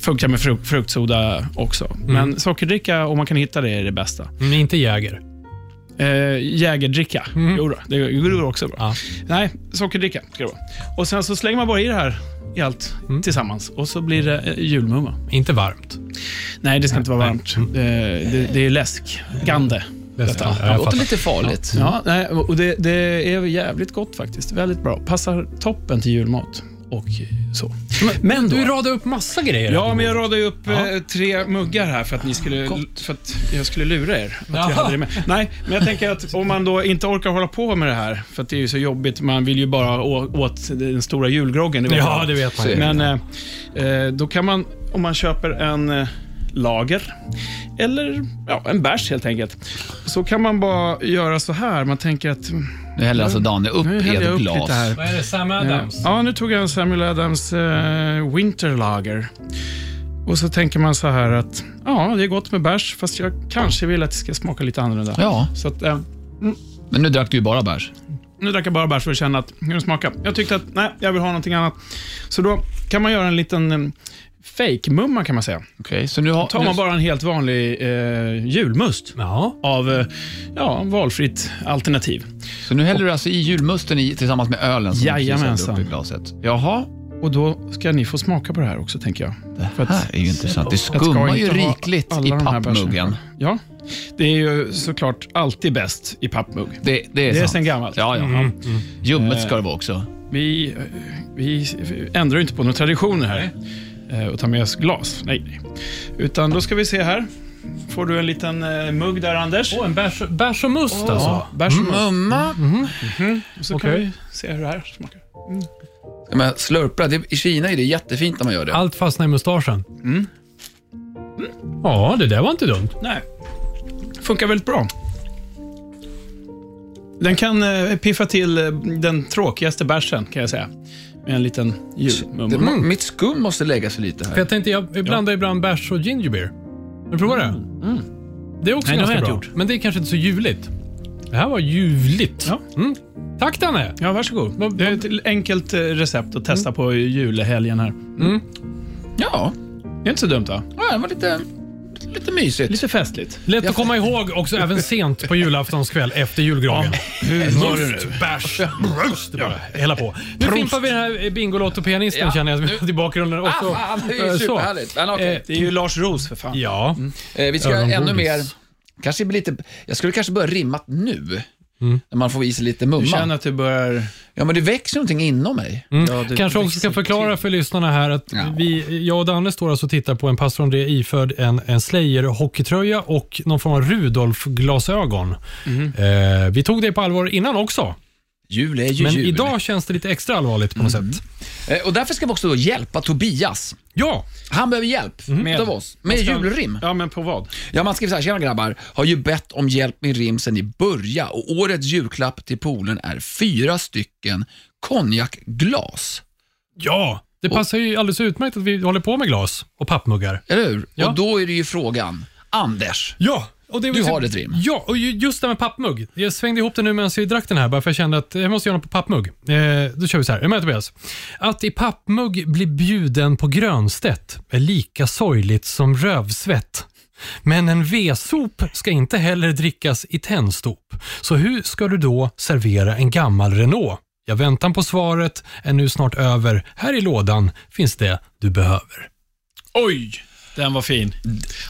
Speaker 5: Funkar med fruk- fruktsoda också. Men sockerdricka, om man kan hitta det, är det bästa.
Speaker 2: Men Mm, inte Jäger.
Speaker 5: Eh, jägerdricka.
Speaker 2: Mm.
Speaker 5: Jo då, det går också bra.
Speaker 2: Ja.
Speaker 5: Nej, sockerdricka ska det vara. Och sen så slänger man bara i det här i allt
Speaker 2: Mm.
Speaker 5: tillsammans och så blir det eh, julmumma.
Speaker 2: Inte varmt.
Speaker 5: Nej, det ska inte vara varmt. Eh, det, det är läskande.
Speaker 2: Bäst- Ja,
Speaker 3: Det
Speaker 2: jag
Speaker 3: låter
Speaker 2: fattar.
Speaker 3: lite farligt.
Speaker 5: Ja, nej, och det, det är jävligt gott faktiskt. Väldigt bra. Passar toppen till julmat och så. Men
Speaker 2: Du
Speaker 5: då.
Speaker 2: radar upp massa grejer.
Speaker 5: Ja, men jag radade ju upp eh, tre muggar här för att, ni skulle, för att jag skulle lura er. Att jag
Speaker 2: Ja.
Speaker 5: hade det med. Nej, men jag tänker att om man då inte orkar hålla på med det här, för att det är ju så jobbigt, man vill ju bara å- åt den stora julgroggen. det vet
Speaker 2: Ja,
Speaker 5: man.
Speaker 2: det vet man
Speaker 3: Så är
Speaker 2: ju.
Speaker 3: det.
Speaker 5: Men eh, eh, då kan man, om man köper en eh, lager, eller ja, en bärs helt enkelt, så kan man bara göra så här. Man tänker att... mm,
Speaker 3: Nu häller alltså Daniel upp
Speaker 5: Nu
Speaker 3: i
Speaker 5: häller jag
Speaker 3: ett
Speaker 5: upp
Speaker 3: glas.
Speaker 5: lite här. Eh,
Speaker 2: Vad är det? Sam Adams?
Speaker 5: Ja, nu tog jag en Samuel Adams eh, Winterlager. Och så tänker man så här att ja, det är gott med bärs, fast jag kanske vill att det ska smaka lite annorlunda.
Speaker 3: Ja,
Speaker 5: Så att, eh,
Speaker 3: men nu drack du ju bara bärs.
Speaker 5: nu drack jag bara bärs för att känna att, hur den smakar. Jag tyckte att nej, jag vill ha någonting annat. Så då kan man göra en liten eh, fake-mumma kan man säga.
Speaker 3: Okej, så nu har...
Speaker 5: Tar man bara en helt vanlig eh, julmust
Speaker 2: Ja.
Speaker 5: av eh, ja, valfritt alternativ.
Speaker 3: Så nu häller du alltså i julmusten i, tillsammans med ölen som du precis
Speaker 5: Jajamensan.
Speaker 3: hällde upp i glaset. Jaha,
Speaker 5: Och då ska ni få smaka på det här också, tänker jag.
Speaker 3: det här är ju intressant. Det skummar ju
Speaker 5: inte ha
Speaker 3: rikligt
Speaker 5: alla
Speaker 3: i
Speaker 5: de här
Speaker 3: pappmuggen.
Speaker 5: bärsen. Ja, det är ju såklart alltid bäst i pappmugg.
Speaker 3: Det, det
Speaker 5: Det
Speaker 3: är
Speaker 5: är
Speaker 3: sant.
Speaker 5: sen Mm, gammalt.
Speaker 3: Ja, ja. Ljummet ska det vara också.
Speaker 5: Vi, eh, vi ändrar ju inte på några traditioner här eh, och tar med oss glas. Nej, nej. Utan då ska vi se här. Får du en liten eh, mugg där, Anders?
Speaker 2: Åh, en bärs, bärs och must alltså.
Speaker 5: Ja, bärs och
Speaker 3: Mm.
Speaker 5: must.
Speaker 3: Mumma.
Speaker 5: Så kan
Speaker 2: okej.
Speaker 5: vi se hur det här smakar.
Speaker 3: Men jag slurpar. Det, I Kina är det jättefint när man gör det.
Speaker 2: Allt fastnar i mustaschen.
Speaker 5: Mm.
Speaker 2: Ja, det där var inte dumt.
Speaker 5: Nej, funkar väldigt bra. Den kan eh, piffa till eh, den tråkigaste bärsen, kan jag säga. Med en liten
Speaker 3: Det,
Speaker 5: julmumma.
Speaker 3: må- Mitt skum måste lägga sig lite
Speaker 2: För
Speaker 3: här.
Speaker 2: jag tänkte, jag blandar ibland bärs och ginger beer. Har du provat det? Det är också
Speaker 5: Mm. Nej, det har
Speaker 2: ganska
Speaker 5: jag
Speaker 2: bra.
Speaker 5: inte
Speaker 2: Men det är kanske inte så ljuvligt. Det här var ljuvligt.
Speaker 5: Ja.
Speaker 2: Mm. Tack Danne!
Speaker 5: Ja, varsågod. Det är ett enkelt eh, recept att testa på julhelgen här.
Speaker 3: Ja,
Speaker 5: Det är inte så dumt va?
Speaker 3: ja det var lite, lite mysigt.
Speaker 5: Lite festligt.
Speaker 2: Lätt att komma ihåg också även sent på julaftonskväll efter julgranen. Must, bärs, bröst bara. Hela på. Nu fimpar vi den här Bingolotto-pianisten
Speaker 3: Ja,
Speaker 2: känner jag i bakgrunden. Och så,
Speaker 3: Ah, fan, det är
Speaker 2: eh,
Speaker 3: ju
Speaker 2: så.
Speaker 3: superhärligt. Men okej.
Speaker 2: Eh,
Speaker 5: Det är ju Lars Roos för fan.
Speaker 2: Ja.
Speaker 3: Eh, vi ska göra
Speaker 2: Ögongodis.
Speaker 3: ännu mer. Kanske blir lite, jag skulle kanske börja rimmat nu. När man får i sig lite mumma.
Speaker 5: Du känner att du börjar...
Speaker 3: Ja, men det växer någonting inom mig.
Speaker 2: Mm.
Speaker 5: Ja, det-
Speaker 2: Kanske också ska förklara för lyssnarna här att
Speaker 3: Ja.
Speaker 2: vi, jag och Danne står alltså och tittar på en pastor André iförd en, en Slayer-hockeytröja och någon form av Rudolf-glasögon.
Speaker 3: Mhm.
Speaker 2: Eh, vi tog det på allvar innan också,
Speaker 3: Jul är ju
Speaker 2: men
Speaker 3: jul.
Speaker 2: idag känns det lite extra allvarligt på något sätt.
Speaker 3: Eh, Och därför ska vi också då hjälpa Tobias.
Speaker 2: Ja,
Speaker 3: Han behöver hjälp
Speaker 5: Med-
Speaker 3: av oss med
Speaker 5: ska-
Speaker 3: julrim.
Speaker 5: Ja, men på vad?
Speaker 3: Ja, man skriver så här, tjena grabbar, har ju bett om hjälp med rim sen i början och årets julklapp till polen är fyra stycken konjakglas.
Speaker 2: ja. Det passar ju alldeles utmärkt att vi håller på med glas och pappmuggar.
Speaker 3: Eller hur?
Speaker 2: Ja.
Speaker 3: Och då är det ju frågan, Anders,
Speaker 2: Ja, Och det var
Speaker 3: Du
Speaker 2: ju-
Speaker 3: har ditt rim.
Speaker 2: Ja, och ju- just det här med pappmugg. Jag svängde ihop det nu medan jag drack den här, bara för jag kände att jag måste göra något på pappmugg. Eh, då kör vi så här. Är du med Tobias? Att i pappmugg bli bjuden på grönstätt är lika sorgligt som rövsvett. Men en V-sop ska inte heller drickas i tändstop. Så hur ska du då servera en gammal Renault? Jag väntan på svaret är nu snart över. Här i lådan finns det du behöver.
Speaker 5: Oj! Den var fin.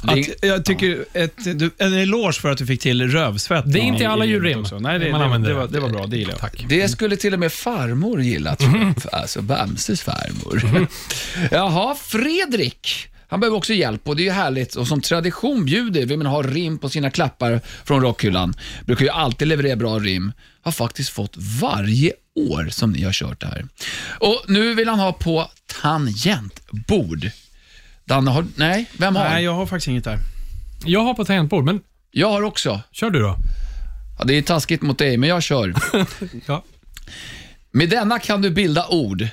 Speaker 3: Det-
Speaker 5: Att, jag tycker ett, du, en eloge för att du fick till rövsvett.
Speaker 2: Det är inte
Speaker 5: i-
Speaker 2: alla
Speaker 5: i-
Speaker 2: julrim.
Speaker 5: också. Nej, det,
Speaker 2: Man
Speaker 5: det,
Speaker 2: använder
Speaker 5: det,
Speaker 2: det.
Speaker 5: var, det var bra. Det gillar jag.
Speaker 2: Tack.
Speaker 3: Det skulle till och med farmor gilla, tror jag. Alltså Bamses farmor. [laughs] Jaha, Fredrik. Han behöver också hjälp och det är ju härligt. Och som tradition bjuder vill man ha rim på sina klappar från rockhyllan. Brukar ju alltid leverera bra rim. Har faktiskt fått varje år som ni har kört det här. Och nu vill han ha på tangentbord. Danne har... Nej, vem har?
Speaker 5: Nej,
Speaker 3: jag...
Speaker 5: jag har faktiskt inget där.
Speaker 2: Jag har på tangentbord, men
Speaker 3: har också.
Speaker 2: kör du då.
Speaker 3: Ja, det är taskigt mot dig, men jag kör.
Speaker 2: Ja.
Speaker 3: Med denna kan du bilda ord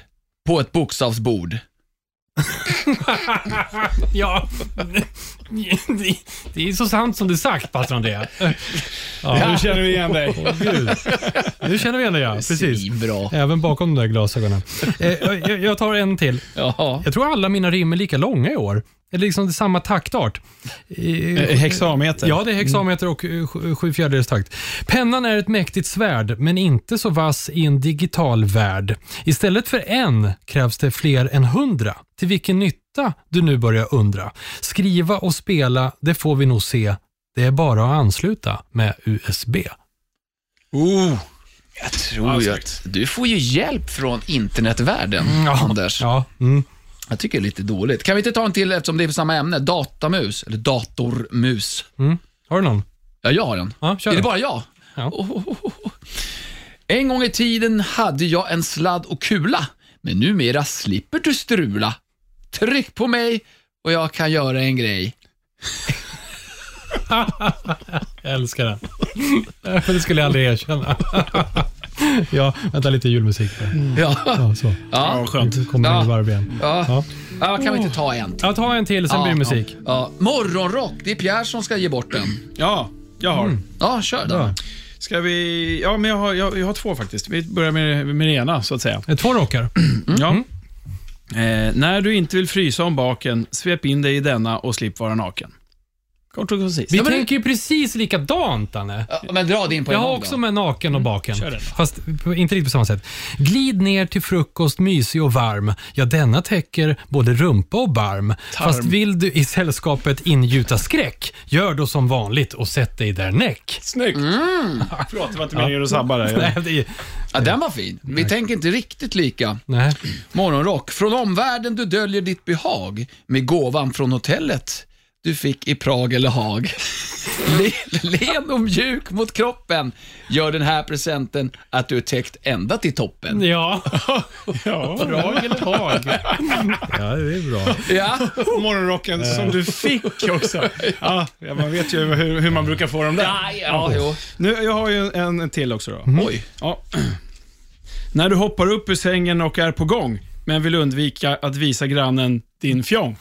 Speaker 3: på ett bokstavsbord.
Speaker 2: [laughs] Ja, det, det är så sant som det är sagt, pastor Andrea. Ja, nu,
Speaker 5: känner vi igen dig.
Speaker 2: känner, nu känner vi igen dig, ja. Precis.
Speaker 3: Bra.
Speaker 2: Även bakom de där glasögonen. Eh, jag, jag tar en till.
Speaker 3: Ja.
Speaker 2: Jag tror alla mina rim är lika långa i år. Eller liksom det är samma taktart.
Speaker 3: Mm.
Speaker 2: Eh,
Speaker 5: Hexameter.
Speaker 2: Ja, det är hexameter och eh, sju- sju fjärdedels takt. Pennan är ett mäktigt svärd, men inte så vass i en digital värld. Istället för en krävs det fler än hundra. Till vilken nytta du nu börjar undra. Skriva och spela, det får vi nog se. Det är bara att ansluta med USB.
Speaker 5: Oh.
Speaker 3: Jag tror ju att du får ju hjälp från internetvärlden, Anders.
Speaker 2: Ja, mm.
Speaker 3: Jag tycker det är lite dåligt. Kan vi inte ta en till eftersom det är på samma ämne? Datamus, eller datormus.
Speaker 2: Har du någon?
Speaker 3: Ja, jag har den.
Speaker 2: Ja, kör
Speaker 3: Är det
Speaker 2: då.
Speaker 3: bara jag?
Speaker 2: Ja.
Speaker 3: Oh, oh, oh, oh. En gång i tiden hade jag en sladd och kula, men numera slipper du strula. Tryck på mig och jag kan göra en grej.
Speaker 2: Jag älskar den. [laughs] För det skulle jag aldrig erkänna. [laughs] ja, vänta lite julmusik. där.
Speaker 3: Ja,
Speaker 2: Mm. Ja, så.
Speaker 3: Mm. ja.
Speaker 5: Ja, skönt.
Speaker 2: Nu kommer
Speaker 3: Ja.
Speaker 2: det i varv igen.
Speaker 3: ja.
Speaker 2: Ja.
Speaker 3: ja kan vi inte ta en?
Speaker 2: Ja, ta en till, sen blir det musik.
Speaker 3: Ja. Morgonrock, det är Pierre som ska ge bort den.
Speaker 5: Ja, jag har.
Speaker 3: Ja, kör då.
Speaker 2: Ja.
Speaker 5: Ska vi... Ja, men jag har, jag, jag har två faktiskt. Vi börjar med, med det ena, så att säga.
Speaker 2: Eh, Två rockar.
Speaker 3: Mm.
Speaker 5: Ja. Eh, när du inte vill frysa om baken, svep in dig i denna och slipp vara naken. Kort och koncist.
Speaker 2: Vi
Speaker 3: Ja, men det-
Speaker 2: tänker ju precis likadant, Danne.
Speaker 3: Ja, men dra din på
Speaker 2: Jag
Speaker 3: en
Speaker 2: har
Speaker 3: gång
Speaker 2: också
Speaker 3: då.
Speaker 2: med naken och baken.
Speaker 5: den då.
Speaker 2: Fast på- inte riktigt på samma sätt. Glid ner till frukost mysig och varm. Ja, denna täcker både rumpa och barm. Fast vill du i sällskapet ingjuta skräck, gör då som vanligt och sätt dig där näck.
Speaker 5: Snyggt!
Speaker 3: Mm.
Speaker 5: [laughs] Förlåt, det var inte meningen att sabba [laughs]
Speaker 2: [laughs] Nej,
Speaker 5: där.
Speaker 2: det är,
Speaker 3: Ja, den var fin. Vi tänker inte riktigt lika.
Speaker 2: nej.
Speaker 3: Morgonrock. Från omvärlden du döljer ditt behag med gåvan från hotellet du fick i Prag eller Haag. [laughs] Le- Len och mjuk mot kroppen gör den här presenten att du är täckt ända till toppen.
Speaker 2: Ja.
Speaker 5: Ja, bra eller tag.
Speaker 2: ja, det är bra.
Speaker 3: Ja,
Speaker 5: Morgonrocken som du fick också. Ja, man vet ju hur, hur man brukar få dem där.
Speaker 3: ja, ja jo.
Speaker 5: Nu, jag har ju en, en till också då.
Speaker 3: Oj.
Speaker 5: Ja. När du hoppar upp ur sängen och är på gång, men vill undvika att visa grannen din fjong.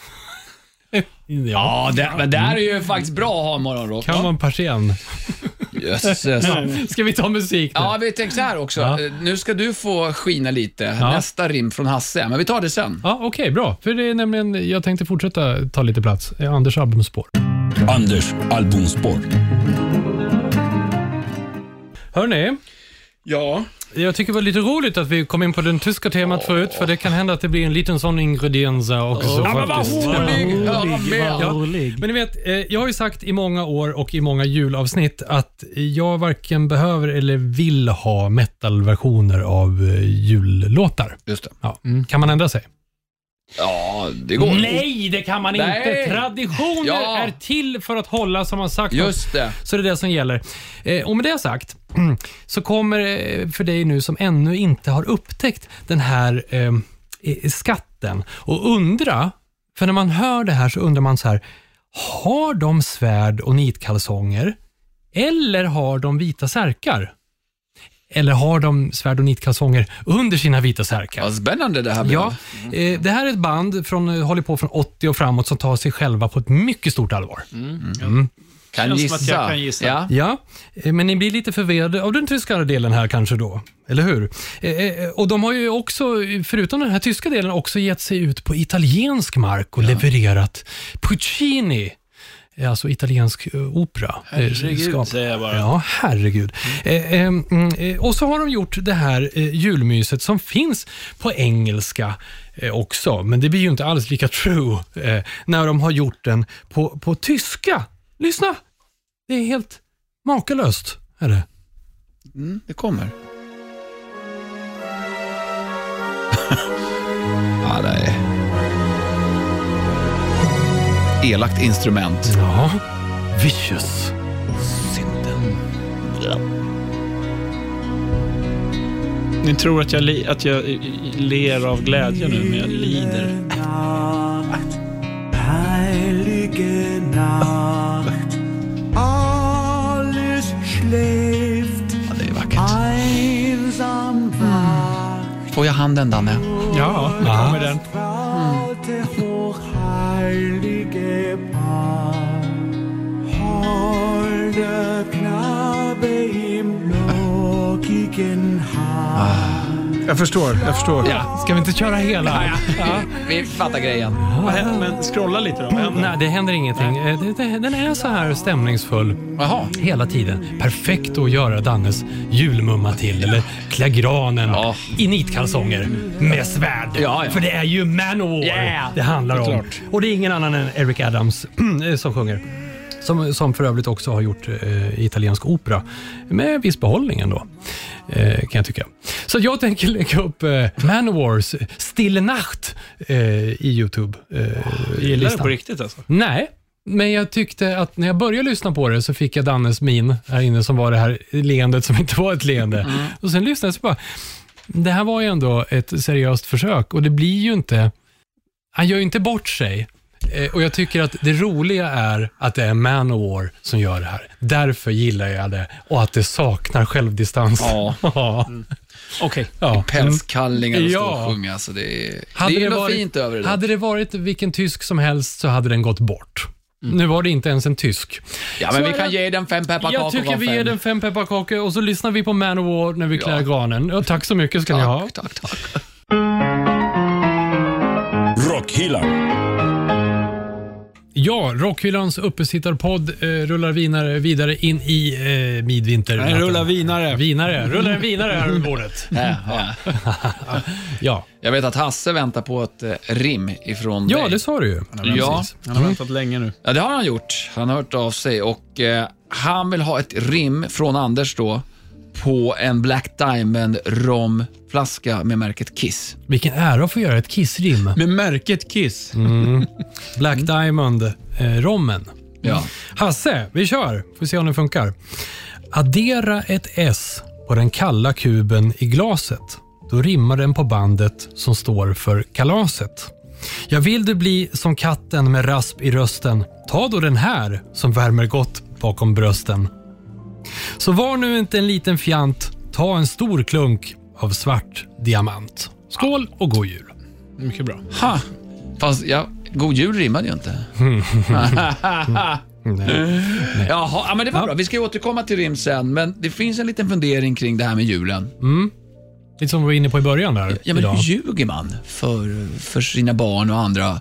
Speaker 2: Ja.
Speaker 3: Ja, det, men det här är ju faktiskt bra att ha morgonrock.
Speaker 2: Kan man persien?
Speaker 3: Jösses.
Speaker 2: Ska vi ta musik nu?
Speaker 3: Ja, vi tänkte så här också.
Speaker 2: Ja.
Speaker 3: Eh, Nu ska du få skina lite. Nästa rim från Hasse, men vi tar det sen.
Speaker 2: Ja, Okej, bra. För det är nämligen, jag tänkte fortsätta ta lite plats. Eh, Anders albumspår.
Speaker 1: Anders albumspår.
Speaker 2: Hörni,
Speaker 5: Ja.
Speaker 2: jag tycker det var lite roligt att vi kom in på det tyska temat förut, för det kan hända att det blir en liten sån ingrediens här också.
Speaker 3: men vad
Speaker 2: faktiskt.
Speaker 3: rolig! Ja, med.
Speaker 2: Ja, men ni vet, eh, jag har ju sagt i många år och i många julavsnitt att jag varken behöver eller vill ha metalversioner av eh, jullåtar.
Speaker 3: Just det.
Speaker 2: Ja. Kan man ändra sig?
Speaker 3: Ja, det går.
Speaker 2: Nej, det kan man
Speaker 3: Nej.
Speaker 2: inte. Traditioner
Speaker 3: Ja.
Speaker 2: är till för att hålla som man sagt.
Speaker 3: Just det.
Speaker 2: Så det är det som gäller. Eh, och med det sagt [clears throat] så kommer eh, för dig nu som ännu inte har upptäckt den här eh, eh, skatten och undra, för när man hör det här så undrar man så här, har de svärd och nitkalsonger eller har de vita särkar? Eller har de svärd och nitkalsonger under sina vita särkar?
Speaker 3: Vad spännande det här blev.
Speaker 2: Ja, eh, det här är ett band från, eh, håller på från 80 och framåt som tar sig själva på ett mycket stort allvar.
Speaker 3: Kan
Speaker 5: Känns
Speaker 3: gissa.
Speaker 5: som att jag kan gissa.
Speaker 3: Ja.
Speaker 2: Ja, eh, men ni blir lite förvirrade av den tyska delen här kanske då, eller hur? Eh, eh, Och de har ju också, förutom den här tyska delen, också gett sig ut på italiensk mark och levererat Puccini, eh, alltså italiensk eh, opera. eh, skap-
Speaker 5: säger jag bara.
Speaker 2: Ja, herregud. Eh, eh, mm, eh, och så har de gjort det här eh, julmyset som finns på engelska eh, också, men det blir ju inte alls lika true eh, när de har gjort den på, på tyska. Lyssna! Det är helt makalöst. Är det.
Speaker 3: Mm, det kommer. ja, det är... Elakt instrument.
Speaker 2: Ja. Vicious.
Speaker 5: Ni tror att jag, li- att jag eh, ler av glädje nu, men jag lider.
Speaker 6: Nacht, heilige Nacht, alles schläft,
Speaker 3: Ja, det är vackert.
Speaker 6: einsam wacht,
Speaker 3: Får jag handen, Danne?
Speaker 5: Ja, nu kommer den.
Speaker 6: traute hochheilige Paar. Holder Knabe im lockigen Haar.
Speaker 7: Jag förstår, jag förstår.
Speaker 2: Ja. Ska vi inte köra hela?
Speaker 3: Vi fattar grejen.
Speaker 5: Vad händer? Men scrolla lite då. Vad händer?
Speaker 2: Nej, det händer ingenting. Eh, det- det- Den är så här stämningsfull.
Speaker 3: Jaha.
Speaker 2: hela tiden. Perfekt att göra Dannes julmumma till, eller klä granen
Speaker 3: Ja.
Speaker 2: i nitkalsonger med svärd.
Speaker 3: Ja, ja.
Speaker 2: För det är ju Manowar
Speaker 3: Yeah.
Speaker 2: det handlar om.
Speaker 5: Såklart.
Speaker 2: Och det är ingen annan än Eric Adams [clears throat] eh, som sjunger. Som, som för övrigt också har gjort eh, italiensk opera. Med viss behållning ändå, eh, kan jag tycka. Så jag tänker lägga upp eh, Manowars Stille Nacht eh, i Youtube. Eh,
Speaker 5: Jag gillar det
Speaker 2: listan.
Speaker 5: på riktigt alltså.
Speaker 2: Nej, men jag tyckte att när jag började lyssna på det så fick jag Dannes min här inne som var det här leendet som inte var ett leende. Och sen lyssnade jag så bara, det här var ju ändå ett seriöst försök och det blir ju inte, han gör ju inte bort sig. Eh, Och jag tycker att det roliga är att det är Manowar som gör det här. Därför gillar jag det och att det saknar självdistans.
Speaker 3: Ja.
Speaker 2: [laughs] Ja.
Speaker 5: Okej.
Speaker 2: Ja.
Speaker 3: Pälskallingar och stå
Speaker 2: Ja.
Speaker 3: och sjunga. Alltså det är,
Speaker 2: Hade
Speaker 3: det är
Speaker 2: det,
Speaker 3: något
Speaker 2: varit,
Speaker 3: fint över det. då.
Speaker 2: hade det varit vilken tysk som helst så hade den gått bort.
Speaker 3: Mm.
Speaker 2: Nu var det inte ens en tysk.
Speaker 3: ja, men
Speaker 2: Så
Speaker 3: vi
Speaker 2: är
Speaker 3: kan
Speaker 2: det-
Speaker 3: ge den fem pepparkakor
Speaker 2: Jag tycker
Speaker 3: var
Speaker 2: vi
Speaker 3: fem.
Speaker 2: ger den fem pepparkakor och så lyssnar vi på Manowar när vi klär
Speaker 3: Ja.
Speaker 2: granen. Ja, tack så mycket ska ni ha.
Speaker 3: Tack, tack, tack.
Speaker 1: Rockhyllan.
Speaker 2: Ja, Rockhyllans uppesittarpodd eh, rullar vinare, vidare in i eh, midvinter.
Speaker 5: Den rullar vinare.
Speaker 2: Vinare, rullar en vinare här över
Speaker 3: [laughs]
Speaker 2: bordet.
Speaker 3: Ja, ja.
Speaker 2: Ja,
Speaker 3: Jag vet att Hasse väntar på ett eh, rim ifrån
Speaker 2: ja
Speaker 3: dig.
Speaker 2: det sa du ju.
Speaker 3: Ja.
Speaker 5: Han har väntat länge nu.
Speaker 3: ja, det har han gjort. Han har hört av sig och eh, han vill ha ett rim från Anders då på en Black Diamond romflaska med märket Kiss.
Speaker 2: Vilken ära att få göra ett kissrim.
Speaker 5: Med märket Kiss.
Speaker 2: Black
Speaker 3: Mm.
Speaker 2: eh, Diamond-rommen.
Speaker 3: Ja.
Speaker 2: Hasse, vi kör. Får se om det funkar. Addera ett S på den kalla kuben i glaset. Då rimmar den på bandet som står för kalaset. Jag vill du bli som katten med rasp i rösten. Ta då den här som värmer gott bakom brösten. Så var nu inte en liten fjant. Ta en stor klunk av svart diamant. Skål och god jul.
Speaker 5: Mycket bra.
Speaker 3: Ha. Fast ja, God Jul rimmade ju [laughs] inte. Jaha, ja, men det var bra. Vi ska ju återkomma till rim sen, men det finns en liten fundering kring det här med julen.
Speaker 2: Lite som vi var inne på i början där
Speaker 3: Ja, men
Speaker 2: idag.
Speaker 3: hur ljuger man för, för sina barn och andra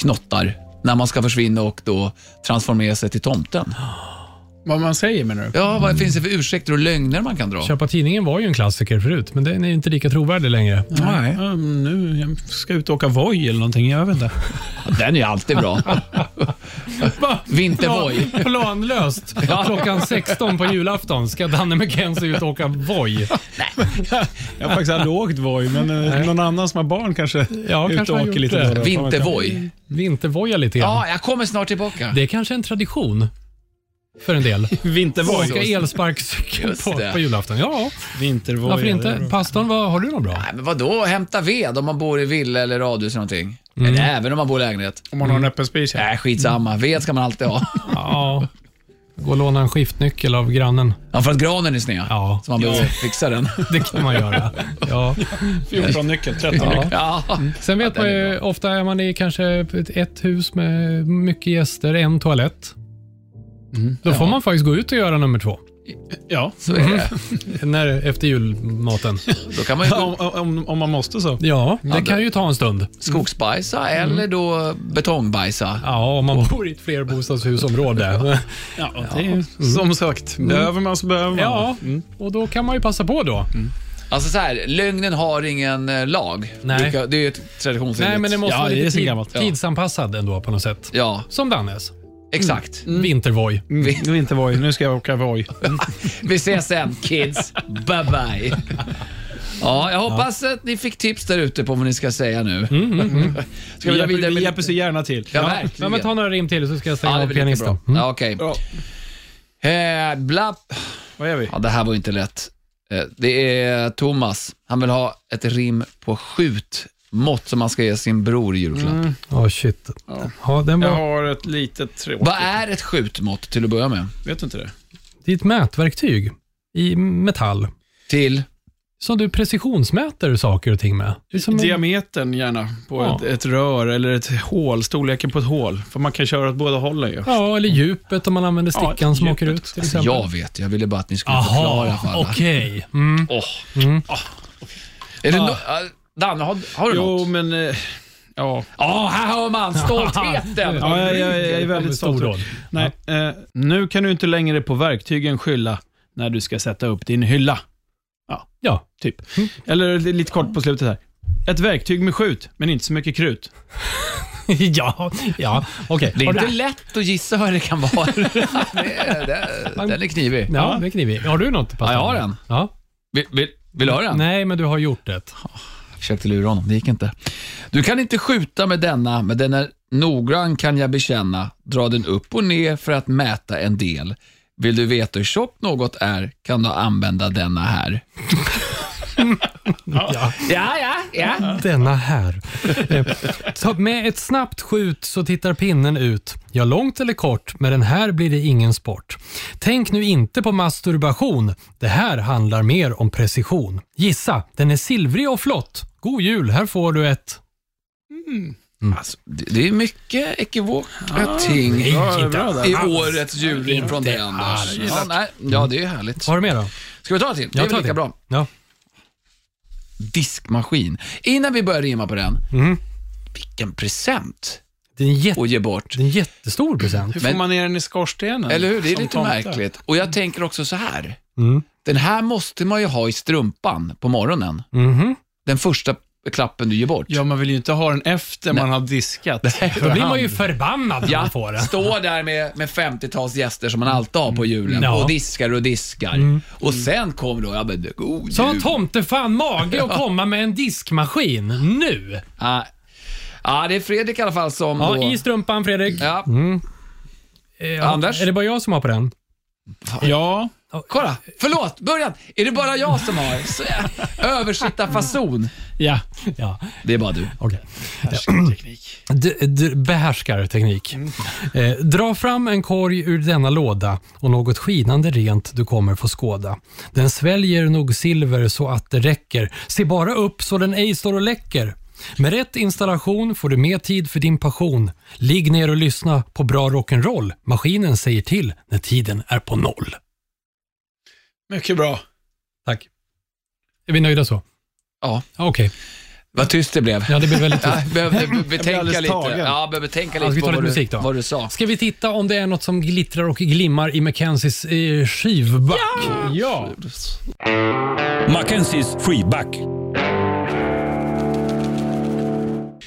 Speaker 3: knottar när man ska försvinna och då transformera sig till tomten?
Speaker 5: Vad man säger menar du?
Speaker 3: Ja, vad finns det för ursäkter och lögner man kan dra?
Speaker 2: Köpa tidningen var ju en klassiker förut, men den är inte lika trovärdig längre.
Speaker 3: Nej.
Speaker 5: Um, nu jag ska jag ut och åka Voi eller någonting. Jag vet inte.
Speaker 3: Den är ju alltid
Speaker 2: [laughs]
Speaker 3: bra. Vintervoj.
Speaker 2: Plan- Planlöst. Klockan 16 på julafton ska Danne McKenzie ut och åka Voi.
Speaker 5: Jag har faktiskt aldrig åkt Voi, men eh, någon annan som har barn kanske
Speaker 2: Ja,
Speaker 5: är ute
Speaker 2: kanske
Speaker 5: och
Speaker 2: har
Speaker 5: åker
Speaker 2: gjort
Speaker 5: lite
Speaker 2: det.
Speaker 5: då och då.
Speaker 3: Vintervoj.
Speaker 2: Vintervoja lite grann.
Speaker 3: Ja, jag kommer snart tillbaka.
Speaker 2: Det är kanske en tradition för en del.
Speaker 5: Vintervoj.
Speaker 2: Åka elsparkcykel
Speaker 3: Just
Speaker 2: på,
Speaker 3: det.
Speaker 2: på julafton. Ja,
Speaker 5: Vintervoj.
Speaker 2: varför
Speaker 5: ja, det är
Speaker 2: inte?
Speaker 5: bra.
Speaker 2: Pastorn, vad, har du något bra?
Speaker 3: Nej, men vadå hämta ved om man bor i villa eller radhus eller någonting?
Speaker 2: Mm.
Speaker 3: Eller även om man bor i lägenhet.
Speaker 5: Om man har en öppen spis.
Speaker 3: Nej, skitsamma. Ved ska man alltid ha.
Speaker 2: Ja. Gå och låna en skiftnyckel av grannen.
Speaker 3: Ja, för att granen är sned.
Speaker 2: Ja.
Speaker 3: Så man behöver fixa den.
Speaker 2: Det kan man göra. Ja.
Speaker 5: 14 nyckel, 13 nyckel.
Speaker 3: Ja.
Speaker 2: Sen vet man ju, ofta är man i kanske ett hus med mycket gäster, en toalett. Då får man faktiskt gå ut och göra nummer två.
Speaker 5: Ja,
Speaker 3: Så är
Speaker 2: Mm.
Speaker 3: det.
Speaker 2: När, efter julmaten.
Speaker 3: Då kan man ju
Speaker 5: om, om, om man måste så.
Speaker 2: Ja, det
Speaker 3: då-
Speaker 2: kan ju ta en stund.
Speaker 3: skogsbajsa
Speaker 2: Mm.
Speaker 3: eller då betongbajsa.
Speaker 2: Ja, om man bor i ett [laughs] flerbostadshusområde.
Speaker 5: Ja, det är
Speaker 3: Mm.
Speaker 5: ju som sagt. Behöver man så behöver man.
Speaker 2: Ja, Mm. och då kan man ju passa på då.
Speaker 3: Alltså så här, lögnen har ingen eh, lag.
Speaker 2: Nej.
Speaker 3: Brukar- Det är ju ett traditionsenligt.
Speaker 2: Nej, men det måste
Speaker 5: Ja,
Speaker 2: vara
Speaker 5: det är
Speaker 2: lite
Speaker 5: så
Speaker 2: tid,
Speaker 5: gammalt, ja.
Speaker 2: tidsanpassad ändå på något sätt.
Speaker 3: Ja,
Speaker 2: Som Dannes.
Speaker 3: exakt.
Speaker 2: Vintervoj.
Speaker 5: Mm, Nu är inte Voi, nu ska jag åka Voi.
Speaker 3: Vi ses sen kids. bye
Speaker 2: [laughs]
Speaker 3: bye. Ja, jag hoppas att ni fick tips där ute på vad ni ska säga nu.
Speaker 2: Mm.
Speaker 3: Ska vi
Speaker 5: Vi
Speaker 3: dra vidare
Speaker 5: hjälper, vi
Speaker 3: med...
Speaker 5: hjälper så gärna till.
Speaker 3: Ja,
Speaker 2: Ja,
Speaker 3: verkligen.
Speaker 2: men ta några rim till så ska jag stänga
Speaker 3: Ja, det
Speaker 2: av
Speaker 3: blir lika bra.
Speaker 2: pianisten. Mm.
Speaker 3: Ja, Okej.
Speaker 5: Bra.
Speaker 3: Eh, blapp.
Speaker 5: Vad är vi?
Speaker 3: Ja, det här var ju inte lätt. Eh, Det är Thomas. Han vill ha ett rim på skjutmått som han ska ge sin bror i julklapp.
Speaker 2: Ja, shit. Ja, den var...
Speaker 5: Jag har ett litet tråkigt.
Speaker 3: Vad är ett skjutmått till att börja med?
Speaker 5: Vet du inte det?
Speaker 2: Det är ett mätverktyg i metall
Speaker 3: Till?
Speaker 2: som du precisionsmäter saker och ting med. Det är som en...
Speaker 5: Diametern gärna på
Speaker 2: Ja.
Speaker 5: ett, ett rör eller ett hål, storleken på ett hål. För man kan köra åt båda hållen ju.
Speaker 2: Ja, eller djupet om man använder stickan
Speaker 5: Ja,
Speaker 2: som åker
Speaker 5: djupet.
Speaker 2: ut till exempel.
Speaker 3: Jag vet, jag ville bara att ni skulle förklara
Speaker 2: Jaha,
Speaker 3: för alla.
Speaker 2: okej. Mm.
Speaker 3: Åh. Åh. Är det no- ah, Danne, har, har du
Speaker 5: Jo,
Speaker 3: något?
Speaker 5: men... eh, Ja,
Speaker 3: Ja, här hör man stoltheten!
Speaker 5: ja jag, jag, jag är väldigt stolt.
Speaker 2: Stordåd.
Speaker 5: Nej, eh, nu kan du inte längre på verktygen skylla när du ska sätta upp din hylla.
Speaker 2: Ja, [laughs]
Speaker 5: Typ.
Speaker 3: Mm.
Speaker 5: Eller lite kort på slutet här. Ett verktyg med skjut, men inte så mycket krut.
Speaker 2: ja, ja. okej.
Speaker 3: Det är
Speaker 2: Har du-
Speaker 3: inte lätt att gissa vad det kan vara.
Speaker 2: [laughs]
Speaker 3: [laughs] det är, det, den är knivig.
Speaker 2: Ja, det är knivigt. Har du något? Pascal?
Speaker 3: Ja, jag har en.
Speaker 2: Ja.
Speaker 3: Vill, vill, vill du höra den?
Speaker 2: Nej, men du har gjort det.
Speaker 3: försökte lura honom, det gick inte. Du kan inte skjuta med denna, men den är noggrann kan jag bekänna. Dra den upp och ner för att mäta en del. Vill du veta hur tjockt något är kan du använda denna här.
Speaker 2: Ja.
Speaker 3: Ja, ja, ja.
Speaker 2: Denna här. Eh, ta- Med ett snabbt skjut så tittar pinnen ut. Ja, långt eller kort, med den här blir det ingen sport. Tänk nu inte på masturbation. Det här handlar mer om precision. Gissa, den är silvrig och flott. God jul, här får du ett...
Speaker 3: Alltså, det det är mycket ekivoka ting i årets julrim från dig, Anders. Ja, nej, ja, det är härligt.
Speaker 2: Har du mer då?
Speaker 3: Ska vi ta till? Det är
Speaker 2: Jag tar
Speaker 3: väl lika
Speaker 2: det.
Speaker 3: bra.
Speaker 2: Ja.
Speaker 3: Diskmaskin. Innan vi börjar rimma på den,
Speaker 2: Mm.
Speaker 3: vilken present
Speaker 2: Det är en, jätte,
Speaker 3: att ge bort.
Speaker 2: det är en jättestor present.
Speaker 5: Hur
Speaker 3: Men-
Speaker 5: får man ner den i skorstenen?
Speaker 3: Eller hur? Det är
Speaker 5: Som
Speaker 3: lite
Speaker 5: tomte.
Speaker 3: märkligt. Och jag tänker också så här.
Speaker 2: Mm.
Speaker 3: Den här måste man ju ha i strumpan på morgonen.
Speaker 2: Mhm.
Speaker 3: Den första klappen du ger bort.
Speaker 5: Ja, man vill ju inte ha den efter man har diskat.
Speaker 2: Då blir man ju förbannad när man
Speaker 3: Ja,
Speaker 2: får den.
Speaker 3: stå där med, med 50-tals gäster som man alltid har på julen
Speaker 2: Ja.
Speaker 3: och diskar och diskar. Och sen kommer då, ja men god jul.
Speaker 2: Så har tomte fan mage att komma med en diskmaskin nu?
Speaker 3: Ja, Ah. Ja, det är Fredrik i alla fall som
Speaker 2: Ja,
Speaker 3: då...
Speaker 2: i strumpan Fredrik.
Speaker 3: Ja,
Speaker 2: Eh,
Speaker 3: Anders?
Speaker 2: Är det bara jag som har på den?
Speaker 5: Ja,
Speaker 3: kolla. Förlåt, början. Är det bara jag som har så- översittarfason?
Speaker 5: ja.
Speaker 2: Ja,
Speaker 3: Det är bara du.
Speaker 2: okej. D- d- behärskar teknik.
Speaker 3: Mm.
Speaker 2: Eh, dra fram en korg ur denna låda och något skinande rent du kommer få skåda. Den sväljer nog silver så att det räcker. Se bara upp så den ej står och läcker. Med rätt installation får du mer tid för din passion. Ligg ner och lyssna på bra rock'n'roll. Maskinen säger till när tiden är på noll.
Speaker 5: Mycket bra.
Speaker 2: Tack. Är vi nöjda så?
Speaker 3: Ja.
Speaker 2: Ja, Okej.
Speaker 3: Vad tyst det blev.
Speaker 2: Ja, det blir
Speaker 5: [laughs]
Speaker 2: väldigt
Speaker 3: Ja, jag behövde betänka
Speaker 5: alldeles
Speaker 3: lite.
Speaker 5: tagen.
Speaker 3: Ja, behöver tänka
Speaker 2: Ja,
Speaker 3: lite
Speaker 2: ska vi
Speaker 3: på
Speaker 2: ta lite
Speaker 3: vad du,
Speaker 2: musik då?
Speaker 3: vad du sa.
Speaker 2: Ska vi titta om det är något som glittrar och glimmar i Mackenzies eh, skivback?
Speaker 5: Ja.
Speaker 1: Mackenzies freeback.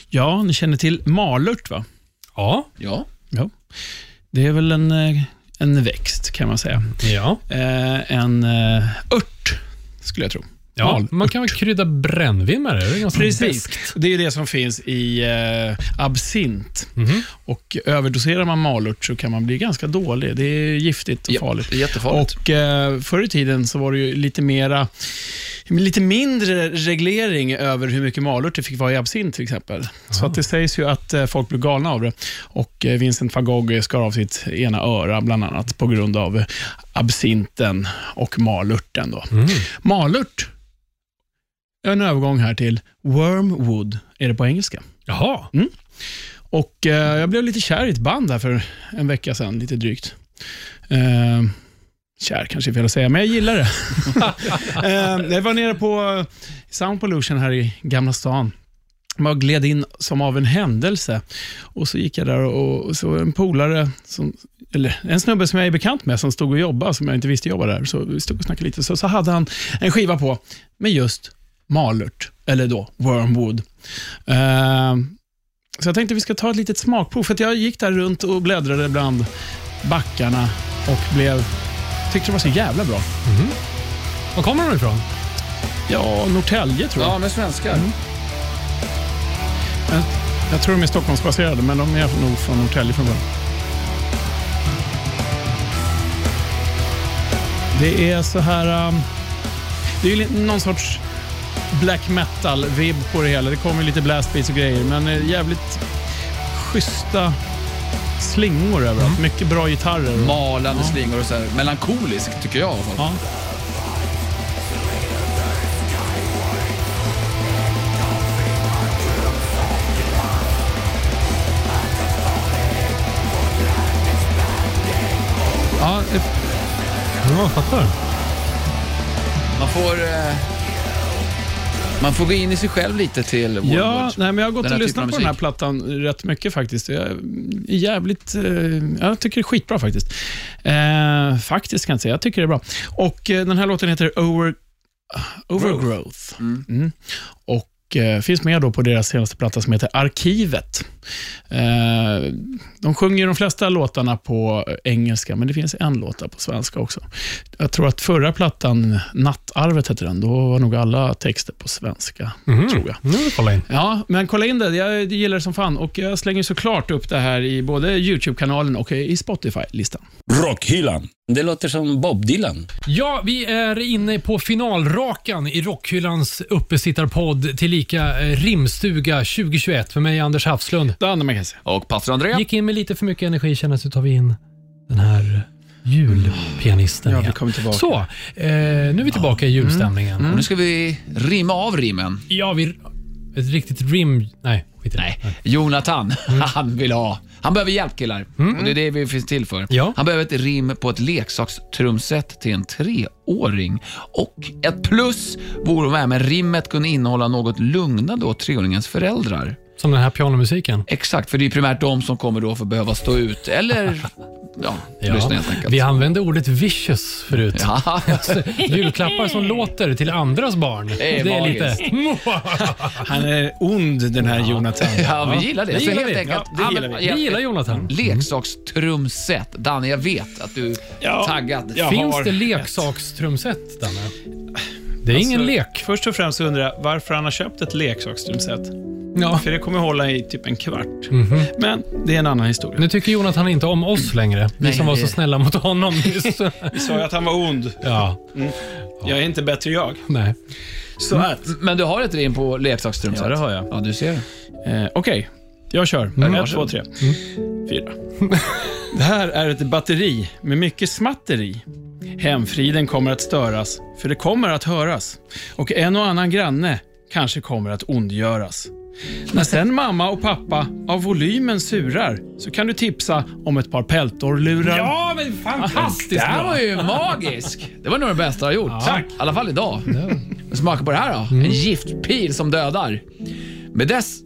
Speaker 5: ja, ni känner till malört va?
Speaker 2: Ja.
Speaker 3: Ja.
Speaker 5: Ja. Det är väl en, eh, en växt kan man säga.
Speaker 2: ja.
Speaker 5: Eh, en eh, ört, skulle jag tro.
Speaker 2: ja. Man kan väl krydda brännvin med det? Det är ganska
Speaker 5: Precis.
Speaker 2: beskt.
Speaker 5: Mm. Det är det som finns i eh, absint. Och Överdoserar man malört så kan man bli ganska dålig. Det är giftigt och
Speaker 3: Ja,
Speaker 5: farligt.
Speaker 3: det är jättefarligt.
Speaker 5: Och, eh, förr i tiden så var det ju lite, mera, lite mindre reglering över hur mycket malört det fick vara i absint till exempel. Så att det sägs ju att eh, folk blev galna av det. Och eh, Vincent van Gogh skar av sitt ena öra bland annat på grund av absinten och malörten. Då. Malört en övergång här till Wormwood, är det på engelska.
Speaker 2: Jaha.
Speaker 5: Och eh, Jag blev lite kär i ett band här för en vecka sedan, lite drygt. Eh, kär kanske är fel att säga, men jag gillar det. [laughs] eh, jag var nere på Sound Pollution här i Gamla stan. Man gled in som av en händelse. Och Så gick jag där och, och så var det en polare, som, eller en snubbe som jag är bekant med, som stod och jobbade, som jag inte visste jobbade där. Så vi stod och snackade lite. Så, så hade han en skiva på med just malört, eller då Wormwood. Eh, så jag tänkte vi ska ta ett litet smakprov, för att jag gick där runt och bläddrade bland backarna och blev, tyckte det var så jävla bra.
Speaker 2: Var kommer de ifrån?
Speaker 5: Ja, Norrtälje tror jag.
Speaker 3: Ja, med svenskar.
Speaker 5: Jag tror de är Stockholmsbaserade, men de är nog från Norrtälje från början. Det är så här... um, det är ju li- någon sorts black metal-vibb på det hela. Det kommer lite blast beats och grejer, men eh, jävligt schyssta slingor överallt. Mycket bra gitarrer. och-
Speaker 3: Malande slingor och så här melankoliskt, tycker jag i alla fall.
Speaker 5: Ja.
Speaker 2: Ja, ett... ja fattar.
Speaker 3: Man får... Eh, man får gå in i sig själv lite till Warlord.
Speaker 5: Ja, nej, men jag har gått
Speaker 3: Den här
Speaker 5: och
Speaker 3: typen av
Speaker 5: lyssnat på den här
Speaker 3: musik.
Speaker 5: plattan rätt mycket faktiskt. Jag är jävligt... Eh, jag tycker det är skitbra faktiskt. Eh, faktiskt kan jag inte säga, jag tycker det är bra. Och eh, den här låten heter Over, Overgrowth. Mm. Och eh, finns med då på deras senaste platta som heter Arkivet. Eh, de sjunger ju de flesta låtarna på engelska, men det finns en låta på svenska också. Jag tror att förra plattan, Nattarvet hette den, då var nog alla texter på svenska, tror jag.
Speaker 2: Mhm. Nu vill vi kolla in.
Speaker 5: Ja, men kolla in det. Jag gillar det som fan. Och jag slänger såklart upp det här i både YouTube-kanalen och i Spotify-listan.
Speaker 1: Rockhyllan. Det låter som Bob Dylan.
Speaker 2: Ja, vi är inne på finalrakan i Rockhyllans uppesittarpodd tillika eh, Rimstuga 2021 för mig Anders Hafslund.
Speaker 5: Det andra man kan säga.
Speaker 3: Och pastor André.
Speaker 2: Gick in med lite för mycket energi känner jag, så tar vi in den här julpianisten
Speaker 5: Ja, vi
Speaker 2: igen.
Speaker 5: kommer tillbaka. Mm.
Speaker 2: Så, eh, nu är vi tillbaka i julstämningen.
Speaker 3: Nu ska vi rimma av rimmen.
Speaker 2: Ja, vi... Ett riktigt rim... Nej, skit i det.
Speaker 3: Nej, Jonathan, [laughs]
Speaker 2: Mm.
Speaker 3: han vill ha. Han behöver hjälp killar. Och det är det vi finns till för.
Speaker 2: Ja.
Speaker 3: Han behöver ett rim på ett leksakstrumset till en treåring. Och ett plus vore om även rimmet kunde innehålla något lugnande åt treåringens föräldrar.
Speaker 2: Som den här pianomusiken.
Speaker 3: Exakt, för det är primärt de som kommer då för behöva stå ut
Speaker 2: [laughs]
Speaker 3: eller ja, lyssna helt enkelt.
Speaker 2: Vi använde ordet vicious förut.
Speaker 3: [laughs] Ja,
Speaker 2: Julklappar som låter till andras barn.
Speaker 3: Det är magiskt. [laughs]
Speaker 5: Han är ond, den här Jonathan. [laughs]
Speaker 3: ja, vi gillar det.
Speaker 2: Det
Speaker 3: Så
Speaker 2: gillar
Speaker 3: helt
Speaker 2: vi.
Speaker 3: enkelt,
Speaker 2: Ja,
Speaker 3: använd-
Speaker 2: vi. Vi gillar Jonathan.
Speaker 3: Leksakstrumset. Danne, jag vet att du är
Speaker 5: Ja.
Speaker 3: taggad.
Speaker 5: Ja. Jag
Speaker 2: Finns
Speaker 5: har
Speaker 2: det
Speaker 5: ett.
Speaker 2: leksakstrumset, Danne? Det
Speaker 5: Alltså-
Speaker 2: är ingen lek.
Speaker 5: Först och främst undrar jag varför han har köpt ett leksakstrumset.
Speaker 2: Ja.
Speaker 5: För det kommer hålla i typ en kvart. Men det är en annan historia.
Speaker 2: Nu tycker Jonathan inte om oss längre, vi
Speaker 3: Nej,
Speaker 2: som var så
Speaker 3: det-
Speaker 2: snälla mot honom nyss.
Speaker 3: [laughs]
Speaker 5: Vi sa ju att han var ond.
Speaker 2: Ja,
Speaker 5: Jag är inte bättre jag.
Speaker 2: nej.
Speaker 5: Så att...
Speaker 3: Men du har ett rim på leksakstrumset?
Speaker 5: Ja, det har jag.
Speaker 3: Ja, du ser.
Speaker 5: Eh, Okej, jag kör.
Speaker 2: Mm,
Speaker 5: Ett, två, tre, fyra. Det här är ett batteri med mycket smatteri. Hemfriden kommer att störas, för det kommer att höras. Och en och annan granne kanske kommer att ondgöras. När
Speaker 2: Alltså-
Speaker 5: sen mamma och pappa av volymen surar så kan du tipsa om ett par peltorlurar.
Speaker 2: Ja, men
Speaker 3: Det
Speaker 2: fantastiskt
Speaker 3: här
Speaker 2: bra!
Speaker 3: var ju magisk. Det var nog det bästa jag har gjort.
Speaker 2: Tack.
Speaker 3: I alla fall idag. Smaka på det här då.
Speaker 2: Mm.
Speaker 3: En giftpil som dödar. Med dess...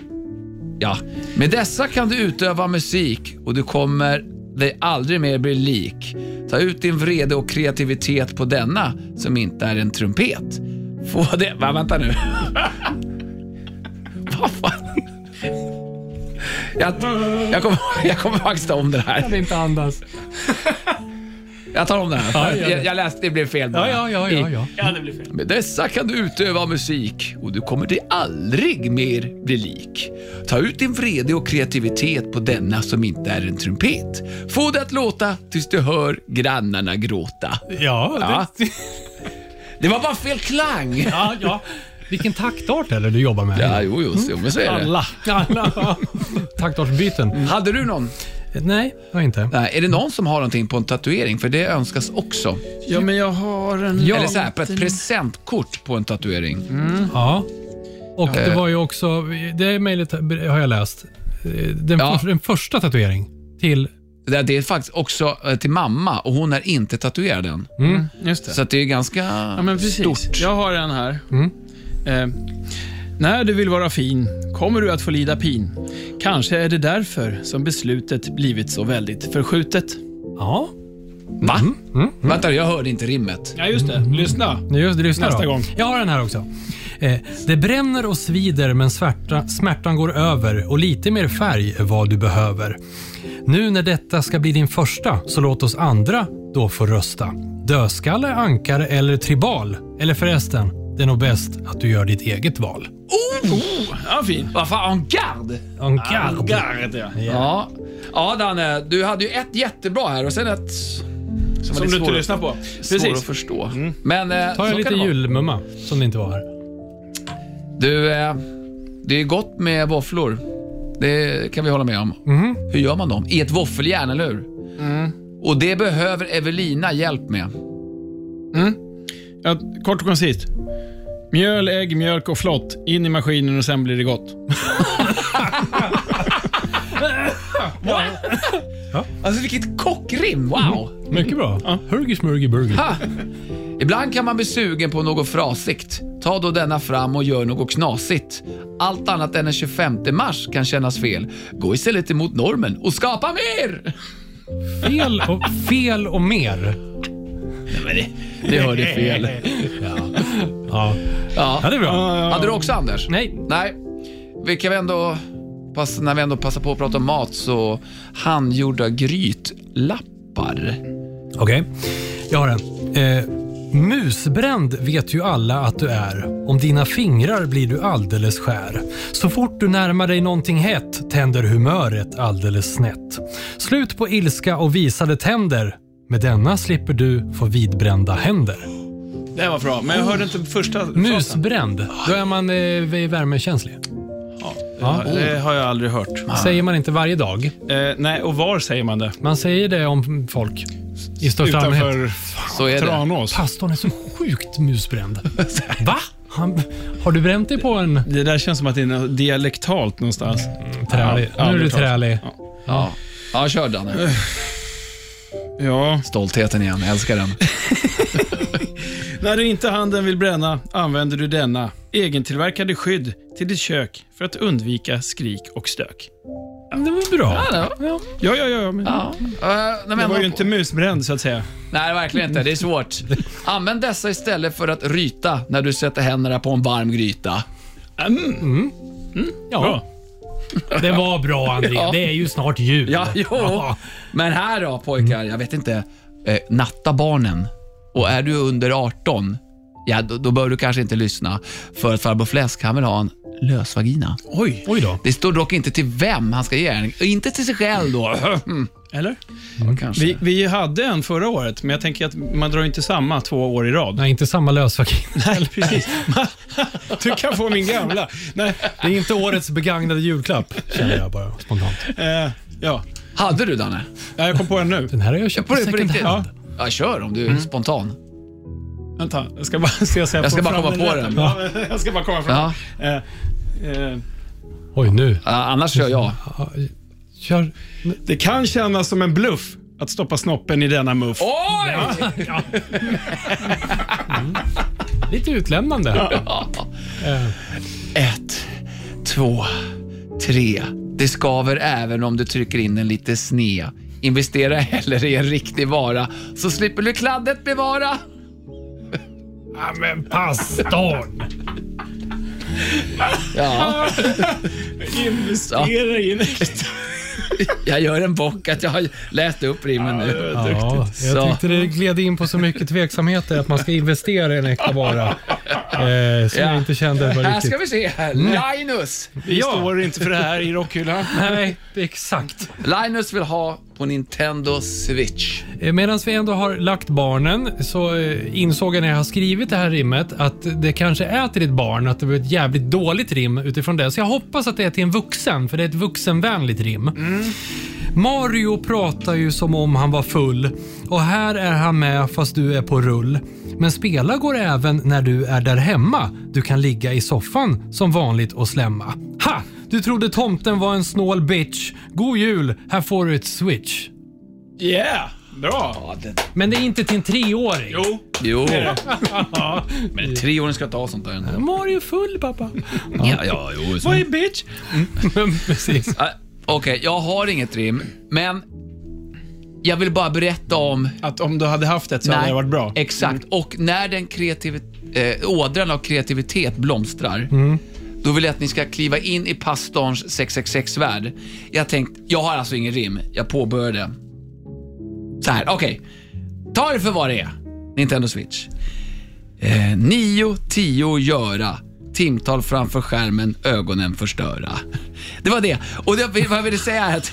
Speaker 3: Ja. Med dessa kan du utöva musik och du kommer dig aldrig mer bli lik. Ta ut din vrede och kreativitet på denna som inte är en trumpet. Få det... Va, vänta nu. [laughs] Vad fan? Jag, jag, kommer, jag kommer faktiskt ta om det här.
Speaker 2: Jag vill inte andas.
Speaker 3: Jag tar om det här.
Speaker 2: Ja, gör det.
Speaker 3: jag, jag läste, det blev fel bara.
Speaker 2: Ja, ja, ja, ja, ja.
Speaker 3: Med dessa kan du utöva musik och du kommer dig aldrig mer bli lik. Ta ut din vrede och kreativitet på denna som inte är en trumpet. Få det att låta tills du hör grannarna gråta.
Speaker 2: Ja, [laughs]
Speaker 3: Ja.
Speaker 2: det,
Speaker 3: Det var bara fel klang!
Speaker 2: ja, ja. Vilken taktart eller du jobbar med.
Speaker 3: Ja, jo, jo, jo men så är det.
Speaker 2: Alla. Alla. Taktartsbyten.
Speaker 3: Hade du någon?
Speaker 2: Nej, det har jag inte.
Speaker 3: Nej, är det någon som har någonting på en tatuering? För det önskas också.
Speaker 5: Ja, men jag har en...
Speaker 3: Eller så här, på ett presentkort på en tatuering.
Speaker 2: Ja. Och det var ju också, det mejlet har jag läst. Eh, Den,
Speaker 3: Ja.
Speaker 2: för, den första tatuering till
Speaker 3: Det, där, det är faktiskt också eh, till mamma och hon är inte tatuerad än.
Speaker 5: Just det.
Speaker 3: Så att det är ganska
Speaker 5: Ja, men precis.
Speaker 3: stort.
Speaker 5: Jag har en här. Eh, när du vill vara fin kommer du att få lida pin. Kanske är det därför som beslutet blivit så väldigt förskjutet.
Speaker 2: Ja,
Speaker 3: Va? Vänta, jag hörde inte rimmet.
Speaker 5: Ja, just det. Lyssna.
Speaker 2: nu just det. Lyssna
Speaker 5: Nästa
Speaker 2: då.
Speaker 5: gång.
Speaker 2: Jag har den här också. Eh, det bränner och svider men svärta, smärtan går över och lite mer färg är vad du behöver. Nu när detta ska bli din första så låt oss andra då få rösta. Dödskalle, ankare eller tribal? Eller förresten, det är nog bäst att du gör ditt eget val.
Speaker 5: Ja, fin.
Speaker 3: Vad fan, en garde?
Speaker 2: Ankare.
Speaker 5: Garret, ja.
Speaker 3: Ja. ja, Danne, du hade ju ett jättebra här och sen ett som, var
Speaker 5: Som du
Speaker 3: lite
Speaker 5: inte
Speaker 3: svår-
Speaker 5: lyssnar på.
Speaker 3: Svår att
Speaker 5: Precis.
Speaker 3: förstå. Men eh,
Speaker 2: Ta
Speaker 3: så
Speaker 2: en lite
Speaker 3: kan det vara.
Speaker 2: julmumma som det inte var här.
Speaker 3: Du, eh, det är gott med våfflor. Det kan vi hålla med om. Hur gör man dem? I ett våffeljärn, eller hur? Och det behöver Evelina hjälp med.
Speaker 5: Ja, kort och koncist. Mjöl, ägg, mjölk och flott. In i maskinen och sen blir det gott.
Speaker 3: Alltså vilket kockrim, wow!
Speaker 2: Mycket bra. Hurgy smurgy burger.
Speaker 3: [laughs] Ha! Ibland kan man bli sugen på något frasigt. Ta då denna fram och gör något knasigt. Allt annat än den 25 mars kan kännas fel. Gå istället emot normen och skapa mer!
Speaker 2: Fel och, fel och mer.
Speaker 3: Det hörde fel.
Speaker 2: Ja, ja
Speaker 3: Ja.
Speaker 2: det är bra.
Speaker 3: Hade du också Anders?
Speaker 2: Nej,
Speaker 3: Nej, vi kan väl ändå, passa, när vi ändå passar på att prata om mat så handgjorda grytlappar.
Speaker 2: Okej, jag har en. Eh, musbränd vet ju alla att du är. Om dina fingrar blir du alldeles skär. Så fort du närmar dig någonting hett tänder humöret alldeles snett. Slut på ilska och visade tänder. Med denna slipper du få vidbrända händer.
Speaker 5: Det här var bra, men jag hörde inte första frasen.
Speaker 2: Musbränd, då är man eh, värmekänslig.
Speaker 5: Ja, det har jag aldrig hört.
Speaker 2: Säger man inte varje dag.
Speaker 5: Eh, nej, och var säger man det?
Speaker 2: Man säger det om folk i största allmänhet.
Speaker 5: Utanför
Speaker 3: Så är det.
Speaker 5: Tranås.
Speaker 2: Pastorn är så sjukt musbränd. Va? Han, har du bränt dig på en
Speaker 5: Det där känns som att det är något dialektalt någonstans.
Speaker 3: Mm.
Speaker 2: trälig?
Speaker 5: Ja,
Speaker 2: nu är
Speaker 5: det
Speaker 2: du
Speaker 5: är klart.
Speaker 2: trälig.
Speaker 3: Ja, ja kör Danne.
Speaker 5: Ja.
Speaker 3: Stoltheten igen, jag älskar den.
Speaker 5: När du inte handen vill bränna använder du denna. Egentillverkade skydd till ditt kök för att undvika skrik och stök.
Speaker 2: Det var bra.
Speaker 3: Ja, ja.
Speaker 5: Ja, ja, ja. Men
Speaker 3: Ja. Eh, nej,
Speaker 5: det
Speaker 3: men-
Speaker 5: var ju inte musbränd så att säga.
Speaker 3: Nej, verkligen inte. Det är svårt. Använd dessa istället för att ryta när du sätter händerna på en varm gryta.
Speaker 2: Ja. Det var bra André.
Speaker 3: Ja.
Speaker 2: Det är ju snart jul. [laughs]
Speaker 3: Ja, jo.
Speaker 2: Ja.
Speaker 3: Men här då pojkar, jag vet inte. Eh, natta barnen. Och är du under 18, ja då, då bör du kanske inte lyssna. För att farbror Fläsk, han vill ha en lös vagina.
Speaker 5: Oj.
Speaker 2: Oj då.
Speaker 3: Det står dock inte till vem han ska ge den. Och Inte till sig själv då.
Speaker 5: Eller?
Speaker 3: Kanske.
Speaker 5: Vi, vi hade en förra året, men jag tänker att man drar ju inte samma två år i rad.
Speaker 2: Nej, inte samma lösvagina.
Speaker 5: Nej, precis. [laughs] du kan få min gamla. Nej,
Speaker 2: [laughs] Det är inte årets begagnade julklapp, känner jag bara spontant.
Speaker 5: eh, ja.
Speaker 3: Hade du Danne?
Speaker 5: Ja, jag kom på den nu.
Speaker 2: Den här har jag köpt på
Speaker 3: På, på
Speaker 2: second
Speaker 3: riktigt?
Speaker 2: hand.
Speaker 3: Ja. kör om du är spontan.
Speaker 5: Vänta, jag ska bara se så jag,
Speaker 3: Jag ska
Speaker 5: får
Speaker 3: bara
Speaker 5: fram
Speaker 3: komma på den.
Speaker 5: rätta. Ja, jag ska bara komma fram.
Speaker 3: Ja.
Speaker 5: Eh, eh,
Speaker 2: Oj, nu.
Speaker 3: Ja, annars kör jag.
Speaker 2: Ja, Kör.
Speaker 5: det kan kännas som en bluff att stoppa snoppen i denna muff.
Speaker 3: Oj!
Speaker 2: Lite utlämnande.
Speaker 3: Ett, två, tre. Det skaver även om du trycker in den lite sned. Investera hellre i en riktig vara så slipper du kladdet bevara.
Speaker 2: Ja, men pastorn.
Speaker 3: Ja,
Speaker 5: Investera in.
Speaker 3: jag gör en bock att jag har läst upp rimmen nu.
Speaker 2: Ja, jag
Speaker 3: Så.
Speaker 2: tyckte det gled in på så mycket tveksamheter att man ska investera i en äkta vara. Eh, som jag
Speaker 3: Ja.
Speaker 2: inte kände var
Speaker 3: Här ska
Speaker 2: riktigt. Mm.
Speaker 3: vi se. här. Linus.
Speaker 5: Vi står inte för det här i rockhyllan.
Speaker 2: Nej, exakt.
Speaker 3: Linus vill ha på Nintendo Switch.
Speaker 2: Medan Eh, vi ändå har lagt barnen så eh, insåg jag när jag har skrivit det här rimmet att det kanske är till ditt barn, att det var ett jävligt dåligt rim utifrån det. Så jag hoppas att det är till en vuxen, för det är ett vuxenvänligt rim. Mario pratar ju som om han var full och här är han med fast du är på rull. Men spela går även när du är där hemma. Du kan ligga i soffan som vanligt och slämma. Ha! Du trodde tomten var en snål bitch. God jul, här får du ett switch.
Speaker 5: Yeah! Bra!
Speaker 2: Men det är inte till en treåring.
Speaker 5: Jo.
Speaker 3: Jo. Men treåringen ska ta sånt där ändå.
Speaker 2: Mario full pappa.
Speaker 3: Ja, ja, jo. så-
Speaker 5: Vad är bitch? Mm. [laughs]
Speaker 2: Precis.
Speaker 3: Ah, Okej, jag har inget rim, men jag vill bara berätta om...
Speaker 5: Att om du hade haft ett så hade
Speaker 3: Nej,
Speaker 5: det varit bra. Mm.
Speaker 3: Exakt. Och när den kreativ, eh, ådran av kreativitet blomstrar,
Speaker 5: Mm.
Speaker 3: då vill jag att ni ska kliva in i pastorns 666-värld. Jag tänkte, jag har alltså ingen rim. Jag påbörjade. Så här, okej. Ta det för vad det är. Nintendo Switch. Eh, nio, tio, göra. Timtal framför skärmen, ögonen förstöra. [laughs] Det var det. Och det, vad jag ville säga är att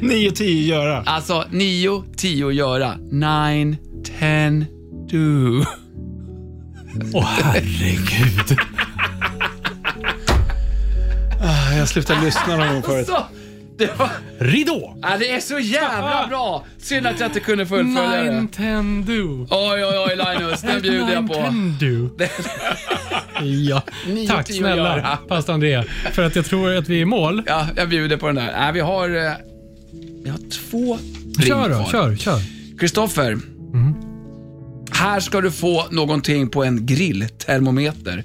Speaker 5: 9 10 göra.
Speaker 3: Alltså, nio, tio göra. Nine, ten, do.
Speaker 2: Åh herregud.
Speaker 5: Jag slutade lyssna någon gång förut.
Speaker 3: Så, det, var,
Speaker 2: Ridå.
Speaker 3: ja, det är så jävla bra! Synd att jag inte kunde fullfölja det.
Speaker 2: Nintendo.
Speaker 3: Oj, oj, oj Linus, den bjuder jag på.
Speaker 2: Nintendo. ja.
Speaker 3: Nio,
Speaker 2: Tack
Speaker 3: tio
Speaker 2: snälla
Speaker 3: göra.
Speaker 2: fast Andrea för att jag tror att vi är i mål.
Speaker 3: Ja, jag bjuder på den där. Nej, vi har... eh, Vi har två
Speaker 2: Kör
Speaker 3: rim
Speaker 2: då,
Speaker 3: kvar.
Speaker 2: kör, kör.
Speaker 3: Kristoffer. Här ska du få någonting på en grilltermometer.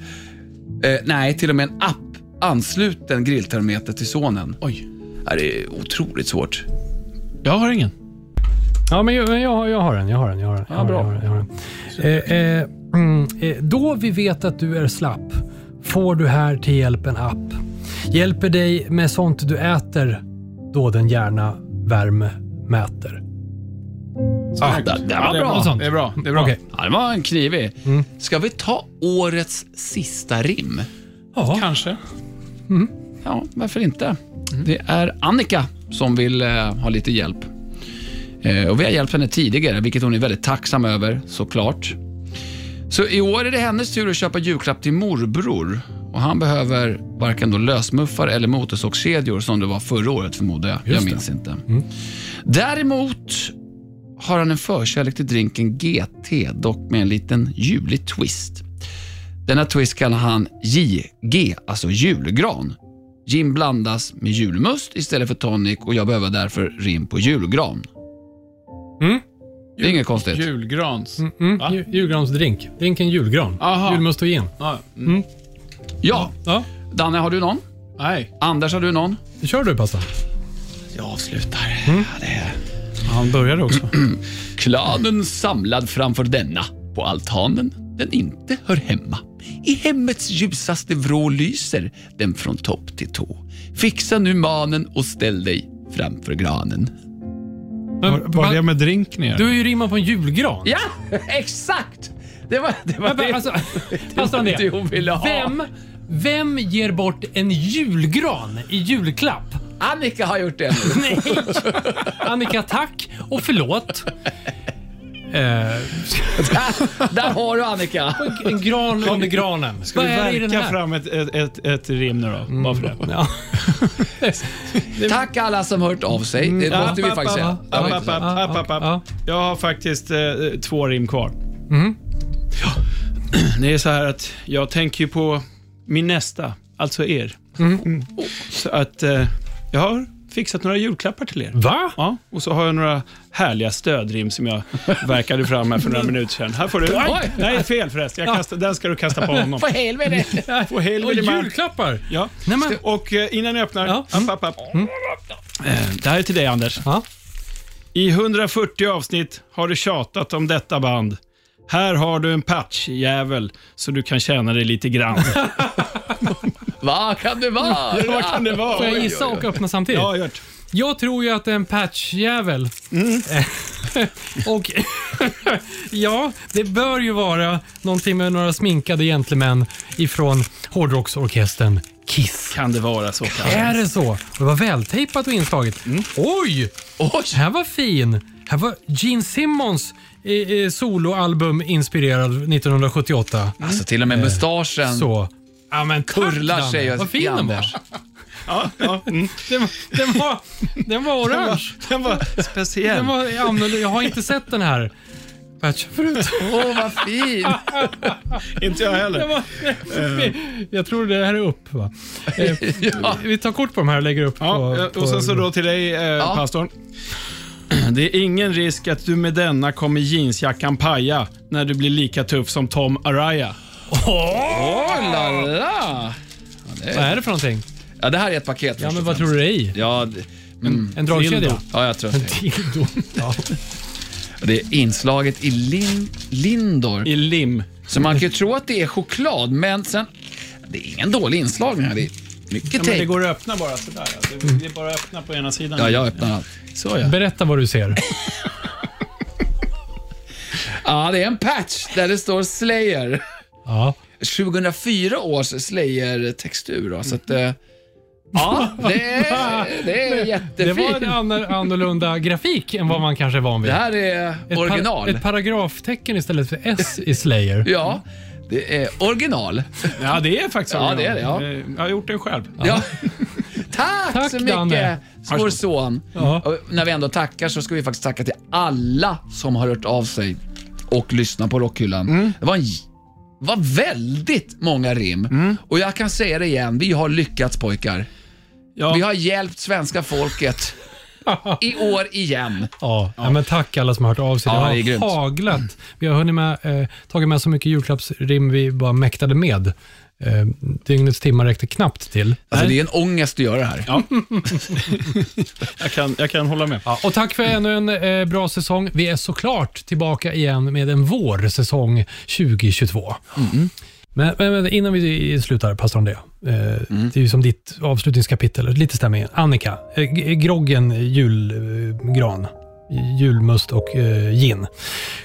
Speaker 3: Eh, nej, till och med en app ansluten grilltermometer till sonen.
Speaker 5: Oj.
Speaker 3: Ja, det är otroligt svårt.
Speaker 5: Jag har ingen.
Speaker 2: Ja, men jag, men jag, har- jag har den. Jag har den. Jag har den. Jag har den, jag har den, jag har den. Eh, eh, mm, eh, då vi vet att du är slapp får du här till hjälp en app. Hjälper dig med sånt du äter då den gärna värme mäter.
Speaker 5: Ah, det,
Speaker 3: var bra.
Speaker 5: Det är bra. Det är bra.
Speaker 2: Okej.
Speaker 3: Ja, det var en knivig. Ska vi ta årets sista rim?
Speaker 2: Ja,
Speaker 5: Kanske.
Speaker 3: Ja, varför inte? Det är Annika som vill eh, ha lite hjälp. Eh, och Vi har hjälpt henne tidigare, vilket hon är väldigt tacksam över såklart. Så i år är det hennes tur att köpa julklapp till morbror. Och Han behöver varken då lösmuffar eller motorsågskedjor som det var förra året förmodar jag. jag minns inte.
Speaker 2: Mm.
Speaker 3: Däremot har han en förkärlek till drinken GT, dock med en liten ljuvlig twist. Denna twist kallar han JG, alltså julgran. Gin blandas med julmust istället för tonic och jag behöver därför rim på julgran.
Speaker 2: Mm.
Speaker 3: Det är inget konstigt.
Speaker 5: Julgrans.
Speaker 2: mm, ju- julgransdrink. Drink en julgran.
Speaker 5: Aha.
Speaker 2: Julmust och gin.
Speaker 5: Ja. mm.
Speaker 3: Ja,
Speaker 2: Ja,
Speaker 3: Danne har du någon?
Speaker 5: Nej.
Speaker 3: Anders har du någon?
Speaker 2: kör du pasta.
Speaker 3: Jag avslutar.
Speaker 5: Han började också.
Speaker 3: Klanen samlad framför denna på altanen den inte hör hemma. I hemmets ljusaste vrå lyser den från topp till tå. Fixa nu manen och ställ dig framför granen.
Speaker 2: Men,
Speaker 5: Var det med drink ner?
Speaker 2: du är ju rimmat på en julgran.
Speaker 3: Ja, [laughs] exakt! Det var det, var
Speaker 2: Men, men,
Speaker 3: det,
Speaker 2: alltså,
Speaker 3: [laughs]
Speaker 2: fast
Speaker 3: det,
Speaker 2: Andrea,
Speaker 3: hon ville ha.
Speaker 2: vem, vem ger bort en julgran i julklapp?
Speaker 3: Annika har gjort det nu.
Speaker 2: [laughs] Nej! Annika, tack och förlåt. Eh,
Speaker 3: Där, där har du Annika.
Speaker 2: en gran under granen.
Speaker 5: Ska vi verka fram ett, ett, ett, ett rim nu då? Bara för det.
Speaker 2: Ja.
Speaker 3: Tack alla som hört av sig.
Speaker 2: Mm.
Speaker 3: Det måste vi
Speaker 5: App,
Speaker 3: faktiskt säga.
Speaker 5: app,
Speaker 3: Det var
Speaker 5: app,
Speaker 3: inte så.
Speaker 5: app, app, app, app.
Speaker 2: Ja.
Speaker 5: Jag har faktiskt eh, två rim kvar.
Speaker 3: Mm.
Speaker 5: Ja. [clears throat] Det är så här att jag tänker ju på min nästa, alltså er.
Speaker 3: Mm.
Speaker 5: Så att eh, jag har fixat några julklappar till er.
Speaker 2: Va?
Speaker 5: Ja, och så har jag några härliga stödrim som
Speaker 3: [laughs]
Speaker 5: jag verkade fram här för några minuter sedan. Här får du.
Speaker 3: Oj!
Speaker 5: Nej, fel förresten. Jag kastar, den ska du kasta på honom.
Speaker 3: För helvete.
Speaker 2: [laughs]
Speaker 5: På
Speaker 2: Och
Speaker 5: helvete. man.
Speaker 2: julklappar?
Speaker 5: Ja.
Speaker 2: Nej, men-
Speaker 5: Och eh, innan jag öppnar.
Speaker 2: Ja.
Speaker 5: App, app, app. Mm. Eh, Det här är till dig Anders.
Speaker 2: Ja.
Speaker 5: I 140 avsnitt har du tjatat om detta band. Här har du en patch, jävel, så du kan tjäna dig lite grann.
Speaker 3: Vad kan det vara?
Speaker 5: Vad [laughs] kan det vara?
Speaker 2: Får jag gissa och öppna samtidigt?
Speaker 5: Ja, Gert.
Speaker 2: Jag tror ju att en patchjävel.
Speaker 3: Mm.
Speaker 2: [laughs] och [laughs] ja, det bör ju vara någonting med några sminkade gentlemän ifrån hårdrocksorkestern Kiss.
Speaker 5: Kan det vara så? Kan?
Speaker 2: Är det så? Det var vältejpat och inslaget.
Speaker 3: Mm.
Speaker 2: Oj!
Speaker 3: Oj!
Speaker 2: Här var fin. Här var Gene Simmons eh, eh, soloalbum inspirerad 1978.
Speaker 3: Alltså till och med mustaschen.
Speaker 2: Så. Ja, men tack,
Speaker 3: Kurlar
Speaker 2: Danne.
Speaker 3: sig
Speaker 2: Vad fin
Speaker 3: i
Speaker 2: den var.
Speaker 3: Anders.
Speaker 2: Den, den, var, den var orange.
Speaker 3: [laughs]
Speaker 5: Den var speciell.
Speaker 2: Den var annorlunda. Jag har inte sett den här. patchen förut.
Speaker 3: Åh, vad fin!
Speaker 2: [laughs]
Speaker 7: Inte jag heller.
Speaker 2: Jag tror det här är upp va? Eh, Vi tar kort på de här och lägger upp
Speaker 7: Ja,
Speaker 5: eh,
Speaker 2: på,
Speaker 7: och sen så
Speaker 2: på-
Speaker 7: då till dig, eh, pastorn.
Speaker 5: [clears throat] Det är ingen risk att du med denna kommer jeansjackan paja när du blir lika tuff som Tom Araya.
Speaker 3: Oh, la, la.
Speaker 2: Vad är det för någonting?
Speaker 3: Ja, det här är ett paket
Speaker 2: Ja, men vad tror du det är i?
Speaker 3: Ja, det,
Speaker 2: En dragkedja?
Speaker 5: Dildo.
Speaker 3: ja, jag tror att
Speaker 2: En
Speaker 3: det.
Speaker 2: dildo? Ja.
Speaker 3: är- Det är inslaget i Lin, Lindor.
Speaker 5: I lim.
Speaker 3: Så man kan ju tro att det är choklad, men sen... Det är ingen dålig inslagning här. Det är mycket
Speaker 5: Ja, men det
Speaker 3: tejp.
Speaker 5: går att öppna bara sådär. ja. Det det är bara att öppna på ena sidan.
Speaker 3: Ja, jag öppnar allt.
Speaker 5: Så ja.
Speaker 2: Berätta vad du ser.
Speaker 3: Ja, det är en patch där det står Slayer.
Speaker 2: Ja.
Speaker 3: 2004 års Slayer-textur. Då, så att, eh, ja, det är, det är
Speaker 2: [laughs] Det
Speaker 3: jättefint.
Speaker 2: var en annan- annorlunda grafik än vad man kanske är van vid.
Speaker 3: Det här är
Speaker 2: Ett par-
Speaker 3: original.
Speaker 2: ett paragraftecken istället för S i Slayer.
Speaker 3: Ja, det är original.
Speaker 5: ja, det är faktiskt
Speaker 3: Ja, det är
Speaker 5: original.
Speaker 3: det, ja.
Speaker 5: Eh, Jag har gjort den själv.
Speaker 3: Ja. [laughs] Tack,
Speaker 2: Tack,
Speaker 3: så mycket,
Speaker 2: Danne.
Speaker 3: vår son.
Speaker 2: Ja.
Speaker 3: Och När vi ändå tackar så ska vi faktiskt tacka till alla som har hört av sig och lyssnat på Rockhyllan.
Speaker 2: Mm.
Speaker 3: Det var, en, j- var väldigt många rim.
Speaker 2: Mm.
Speaker 3: Och jag kan säga det igen, vi har lyckats pojkar.
Speaker 5: Ja.
Speaker 3: Vi har hjälpt svenska
Speaker 2: [laughs]
Speaker 3: folket i år igen.
Speaker 2: Ja, ja. men tack alla som har hört av sig.
Speaker 3: Ja, det är
Speaker 2: det
Speaker 3: grymt.
Speaker 2: har haglat. Vi har hunnit med, eh, tagit med så mycket julklappsrim vi bara mäktade med. Eh, dygnets timmar räckte knappt till.
Speaker 3: Alltså, det är en ångest att göra det här.
Speaker 5: Jag, kan, jag kan hålla med.
Speaker 2: Ja, och tack för ännu en eh, bra säsong. Vi är såklart tillbaka igen med en vårsäsong 2022. Men, men, men innan vi slutar, pastor André. Eh, Det är ju som ditt avslutningskapitel, lite stämningen. Annika, eh, g- groggen julgran, julmust och eh, gin.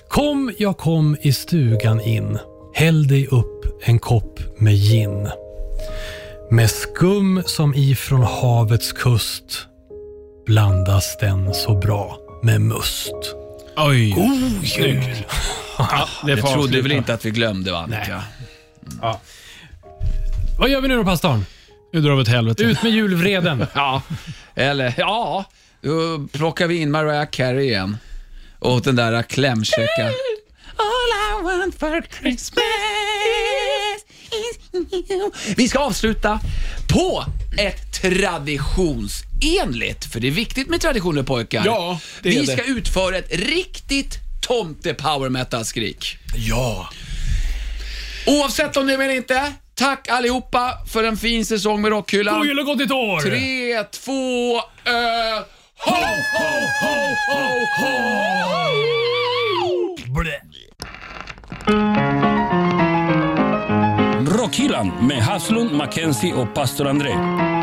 Speaker 2: Kom, jag kom i stugan in. Häll dig upp en kopp med gin. Med skum som ifrån havets kust blandas den så bra med must.
Speaker 5: Oj.
Speaker 2: God jul!
Speaker 5: det
Speaker 3: Jag
Speaker 5: får
Speaker 3: trodde
Speaker 5: avsluta.
Speaker 3: väl inte att vi glömde va, Annika?
Speaker 2: Vad gör vi nu då pastorn?
Speaker 5: Nu drar vi åt helvete.
Speaker 2: Ut med julvreden.
Speaker 3: [laughs] Ja, eller ja, då plockar vi in Mariah Carey igen. Och den där klämkäcka. All I want for Christmas is you. Vi ska avsluta på ett traditionsenligt, för det är viktigt med traditioner pojkar.
Speaker 5: Ja, det
Speaker 3: Vi
Speaker 5: är det.
Speaker 3: ska utföra ett riktigt tomte power metal-skrik. Ja. Oavsett om ni vill inte, tack allihopa för en fin säsong med Rockhyllan.
Speaker 2: God jul och gott nytt år!
Speaker 3: Tre, två, ö... Ho, ho, ho, ho, ho!
Speaker 2: Blä.
Speaker 1: Rockhyllan med Haslund, Mackenzie och pastor André.